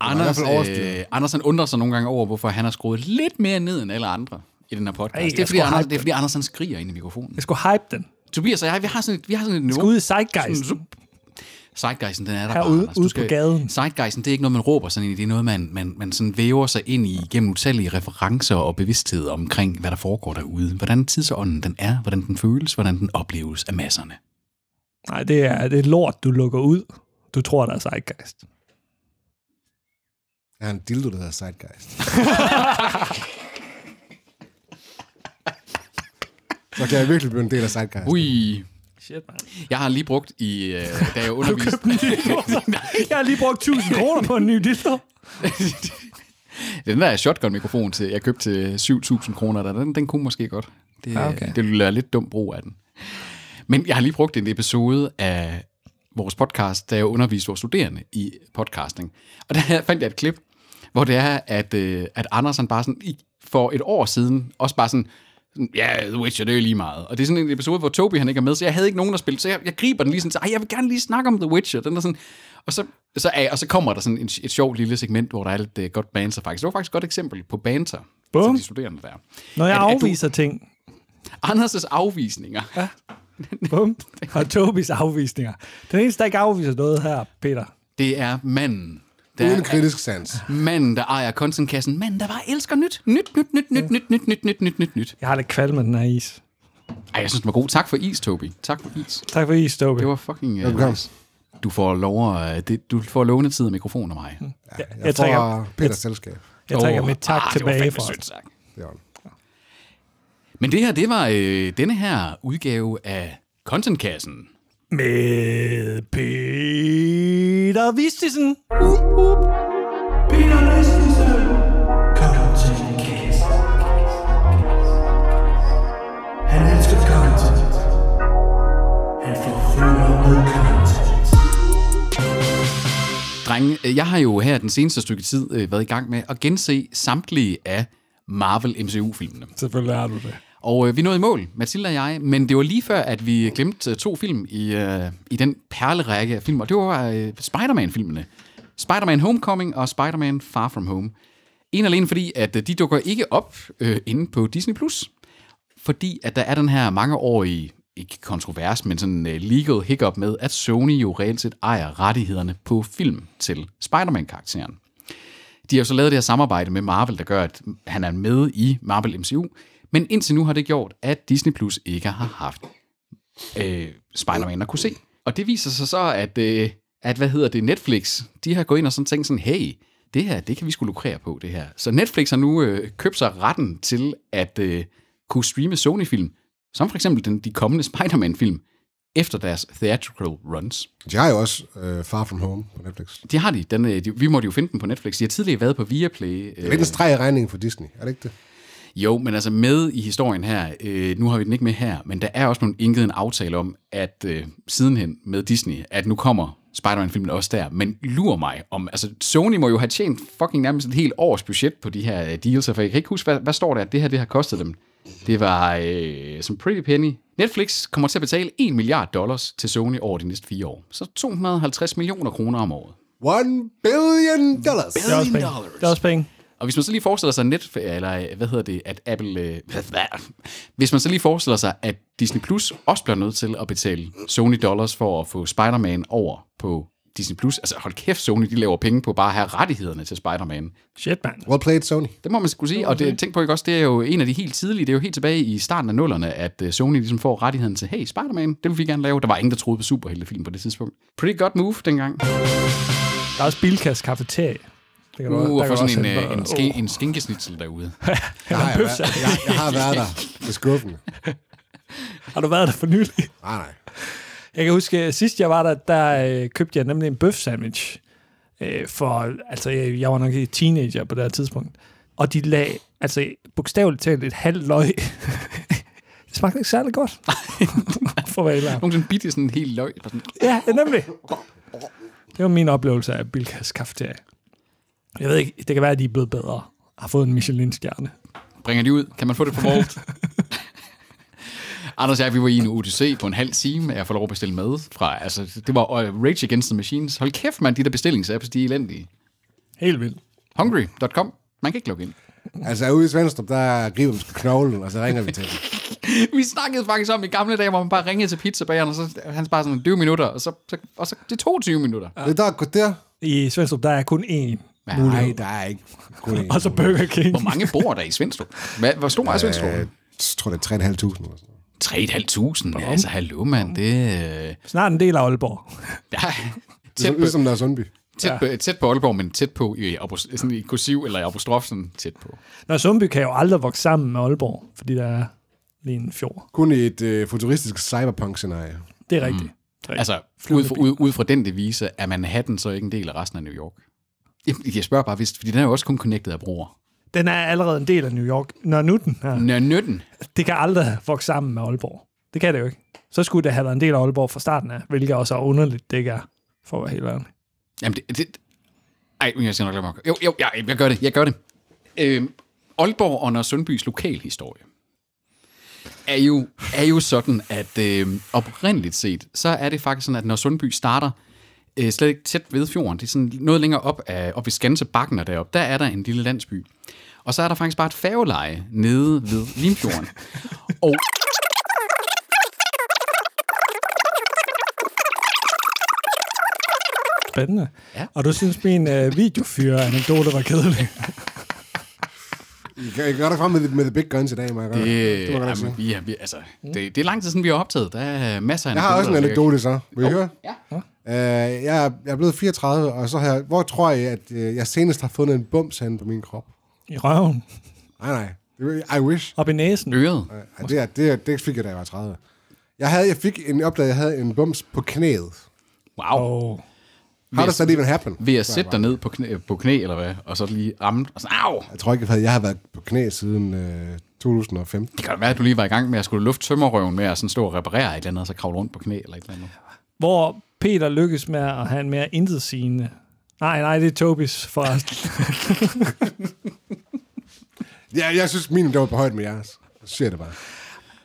Anders, hvert fald overstyret. øh, Anders han undrer sig nogle gange over, hvorfor han har skruet lidt mere ned end alle andre i den her podcast. Ej, det, er, jeg fordi skulle Anders, hype det er fordi, Anders han skriger ind i mikrofonen. Jeg skulle hype den. Tobias og jeg, vi har sådan et, vi har sådan et niveau. Skal ud i zeitgeisten. Sådan, zup. Zeitgeisten, den er der Herude- bare, Anders. Du ude på gaden. Zeitgeisten, det er ikke noget, man råber sådan ind i. Det er noget, man, man, man sådan væver sig ind i gennem utallige referencer og bevidsthed omkring, hvad der foregår derude. Hvordan tidsånden den er, hvordan den føles, hvordan den opleves af masserne. Nej, det er, det er lort, du lukker ud. Du tror, der er zeitgeist. Jeg har en dildo, der hedder Zeitgeist. så kan jeg virkelig blive en del af Zeitgeist. Ui, Shit, man. jeg har lige brugt i, øh, da jeg underviste... Jeg har lige brugt 1000 kroner på en ny dildo. Det er Den der shotgun-mikrofon, til, jeg købte til 7.000 kroner, der, den, den kunne måske godt. Det, okay. det ville være lidt dum brug af den. Men jeg har lige brugt en episode af vores podcast, da jeg underviste vores studerende i podcasting. Og der fandt jeg et klip, hvor det er, at, øh, at Anders han bare sådan, i- for et år siden, også bare sådan, sådan, ja, yeah, The Witcher, det er jo lige meget. Og det er sådan en episode, hvor Toby han ikke er med, så jeg havde ikke nogen, der spille, så jeg, jeg griber den lige sådan, så, Ej, jeg vil gerne lige snakke om The Witcher. Den er sådan, og så, så, er- og så kommer der sådan et, et sjovt lille segment, hvor der er lidt uh, godt banter faktisk. Det var faktisk et godt eksempel på banter. Bum. Til de studerende der. Når jeg At- at du- afviser ting, Anders' afvisninger. Ja. Bum. Og Tobis afvisninger. Den eneste, der ikke afviser noget her, Peter. Det er manden. Der Uden er- kritisk sans. Manden, der ejer kontenkassen. Manden, der bare elsker nyt. Nyt, nyt, nyt, nyt, nyt, nyt, nyt, nyt, nyt, nyt, nyt. Jeg har lidt kvalm med den her is. Ej, jeg synes, den var god. Tak for is, Tobi. Tak for is. Tak for is, Tobi. Det var fucking... Uh, Velbekomme. nice. Du får lov at, øh, det, du får lånetid af mikrofon af mig. jeg, Jeg jeg, får trækker, Peters selskab. jeg trækker Åh, mit tak ah, tilbage det for var os. fandme sødt sagt. Det var den. Men det her, det var øh, denne her udgave af Contentkassen. Med Peter Vistisen. Han elsker content. Han forfølger med content. Drenge, øh, jeg har jo her den seneste stykke tid øh, været i gang med at gense samtlige af Marvel MCU-filmene. Selvfølgelig er du det. Og øh, vi nåede i mål, Mathilde og jeg, men det var lige før, at vi glemte øh, to film i, øh, i den perlerække af film, og det var øh, Spider-Man-filmene. Spider-Man Homecoming og Spider-Man Far From Home. En alene fordi, at øh, de dukker ikke op øh, inde på Disney+. Plus, Fordi at der er den her mangeårige, ikke kontrovers, men sådan øh, legal hiccup med, at Sony jo reelt set ejer rettighederne på film til Spider-Man-karakteren. De har jo så lavet det her samarbejde med Marvel, der gør, at han er med i Marvel MCU. Men indtil nu har det gjort, at Disney Plus ikke har haft øh, Spider-Man at kunne se. Og det viser sig så, at, øh, at hvad hedder det, Netflix, de har gået ind og sådan tænkt sådan, hey, det her, det kan vi skulle lukrere på, det her. Så Netflix har nu øh, købt sig retten til at øh, kunne streame Sony-film, som for eksempel den, de kommende Spider-Man-film, efter deres theatrical runs. De har jo også øh, Far From Home på Netflix. Det har de. Den, øh, de. Vi måtte jo finde den på Netflix. De har tidligere været på Viaplay. Det er lidt en streg i regningen for Disney, er det ikke det? Jo, men altså med i historien her, øh, nu har vi den ikke med her, men der er også nogle indgivet en aftale om, at øh, sidenhen med Disney, at nu kommer Spider-Man-filmen også der, men lurer mig om, altså Sony må jo have tjent fucking nærmest et helt års budget på de her øh, deals, for jeg kan ikke huske, hvad, hvad står der, at det her det har kostet dem? Det var øh, som pretty penny. Netflix kommer til at betale 1 milliard dollars til Sony over de næste fire år. Så 250 millioner kroner om året. One billion dollars. Det er også penge. Det er også penge. Og hvis man så lige forestiller sig net, eller øh, hvad hedder det, at Apple, øh, hvad- hvad- hvis man så lige forestiller sig, at Disney Plus også bliver nødt til at betale Sony dollars for at få Spider-Man over på Disney Plus. Altså hold kæft, Sony de laver penge på bare at have rettighederne til Spider-Man. Shit, mand. Well played, Sony. Det må man skulle sige, og det, tænk på ikke også, det er jo en af de helt tidlige, det er jo helt tilbage i starten af nullerne, at øh, Sony ligesom får rettigheden til, hey, Spider-Man, det vil vi gerne lave. Der var ingen, der troede på superheltefilm på det tidspunkt. Pretty godt move dengang. Der er også Bilkas kafeterie. Det kan du- Uh, der og kan få du også sådan en, hente- øh, en, ske, en skinkesnitzel derude. Jeg har, jeg, været- jeg, jeg har været der. Det er skuffende. Uh, Har du været der for nylig? Nej, nej. Jeg kan huske, at sidst jeg var der, der øh, købte jeg nemlig en bøf sandwich. Øh, for, altså, jeg, jeg var nok ikke teenager på det her tidspunkt. Og de lag, altså, bogstaveligt talt et halvt løg. det smagte ikke særlig godt. for hvad jeg Nogle sådan bitte sådan helt løg. bare Sådan, Ja, nemlig. Det var min oplevelse af Bilkas kafeterie. Jeg ved ikke, det kan være, at de er blevet bedre. Har fået en Michelin-stjerne. Bringer de ud? Kan man få det på Volt? Anders og jeg, vi var i en UTC på en halv time, at jeg får lov at bestille mad fra. Altså, det var øh, Rage Against the Machines. Hold kæft, man, de der bestillingsapps, de er elendige. Helt vildt. Hungry.com. Man kan ikke logge ind. Altså, ude i Svendstrup, der griber vi sgu knoglen, og så ringer vi til dem. Vi snakkede faktisk om i gamle dage, hvor man bare ringede til pizzabageren, og så han bare sådan 20 minutter, og så, så, og så det er 22 minutter. Det der er godt der. I Svendstrup, der er kun én. Nej, der er ikke. Kun en. Og så Burger King. Hvor mange bor der i Svendstrup? Hvad, hvor stor er Svendstrup? Øh, Jeg tror, det er 3.500 eller sådan noget. 3.500. Altså, hallo, mand. Det, øh, Snart en del af Aalborg. ja, tæt, Ligesom, på, ligesom der er Sundby. tæt, på, tæt på Aalborg, men tæt på i, apos- sådan i kursiv eller i apostrof, sådan tæt på. Når Sundby kan jo aldrig vokse sammen med Aalborg, fordi der er lige en fjord. Kun i et øh, futuristisk cyberpunk-scenarie. Det er rigtigt. Mm. Altså, ud fra, ud, ud fra den devise, er Manhattan så ikke en del af resten af New York? Jeg, jeg spørger bare, hvis, fordi den er jo også kun connected af brugere. Den er allerede en del af New York. Når nu den er. Nør 19. Det kan aldrig vokse sammen med Aalborg. Det kan det jo ikke. Så skulle det have været en del af Aalborg fra starten af, hvilket også er underligt, det ikke er, for at være helt ærlig. Jamen, det... det ej, men jeg skal nok lade mig. at- Jo, jo, jeg, jeg gør det, jeg gør det. Øhm, Aalborg og Nørre Sundbys lokalhistorie er jo, er jo sådan, at øh, oprindeligt set, så er det faktisk sådan, at Nørre Sundby starter øh, slet ikke tæt ved fjorden. Det er sådan noget længere op, af, op ved Skansebakken og deroppe. Der er der en lille landsby. Og så er der faktisk bare et færgeleje nede ved Limfjorden. og Spændende. Ja. Og du synes, min øh, videofyre-anekdote var kedelig. I kan, I kan godt frem med, the- med the big guns i dag, Mark. Det, øh, det må jeg godt nok jamen, sige. Mm. vi, er- vi, altså, det, det er lang tid siden, vi har optaget. Der er masser af Jeg har også en anekdoter, der- anekdote så. Vil I høre? Ja. Øh, jeg, er- jeg er blevet 34, og så har jeg, hvor tror jeg, at øh, jeg senest har fundet en bums henne på min krop? I røven. Nej, nej. Det- I wish. Op i næsen. øh, Øret. Ja, det, er- det, er- det fik jeg, da jeg var 30. Jeg, havde, jeg fik en opdagelse, jeg havde en bums på knæet. Wow. Og How does that even happen? Ved at sætte dig ned på knæ, på knæ, eller hvad? Og så lige ramme, og så, au! Jeg tror ikke, at jeg har været på knæ siden øh, 2015. Det kan da være, at du lige var i gang med at skulle lufte tømmerrøven med at sådan stå og reparere et eller andet, og så kravle rundt på knæ eller et eller andet. hvor Peter lykkes med at have en mere intetsigende... Nej, nej, det er Tobis forresten. Ja, jeg synes, min der var på højde med jeres. Så siger jeg det bare.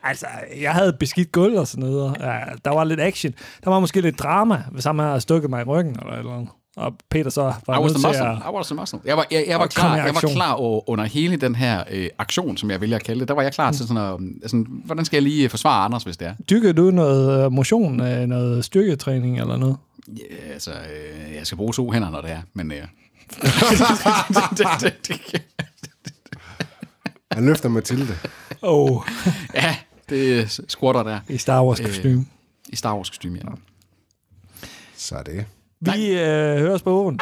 Altså, jeg havde et beskidt gulv og sådan noget. og, Ja, der var lidt action. Der var måske lidt drama, hvis han havde stukket mig i ryggen eller et eller andet. Og Peter så I var was nødt the til muscle. at... I was the muscle. Jeg var, jeg, jeg var, Og kom i klar, jeg var aktion. klar over, under hele den her øh, aktion, som jeg vælger at kalde det, der var jeg klar til sådan, at, mm, sådan hvordan skal jeg lige øh, forsvare Anders, hvis det er? Dykkede du noget øh, motion, øh, noget styrketræning eller noget? Ja, altså, øh, jeg skal bruge to hænder, når det er, men... Øh. det, det, det, det, Han løfter Mathilde. Oh, ja, det er squatter der i Star Wars kostume. i Star Wars kostume. Ja. Så er det. Vi øh, høres på åen.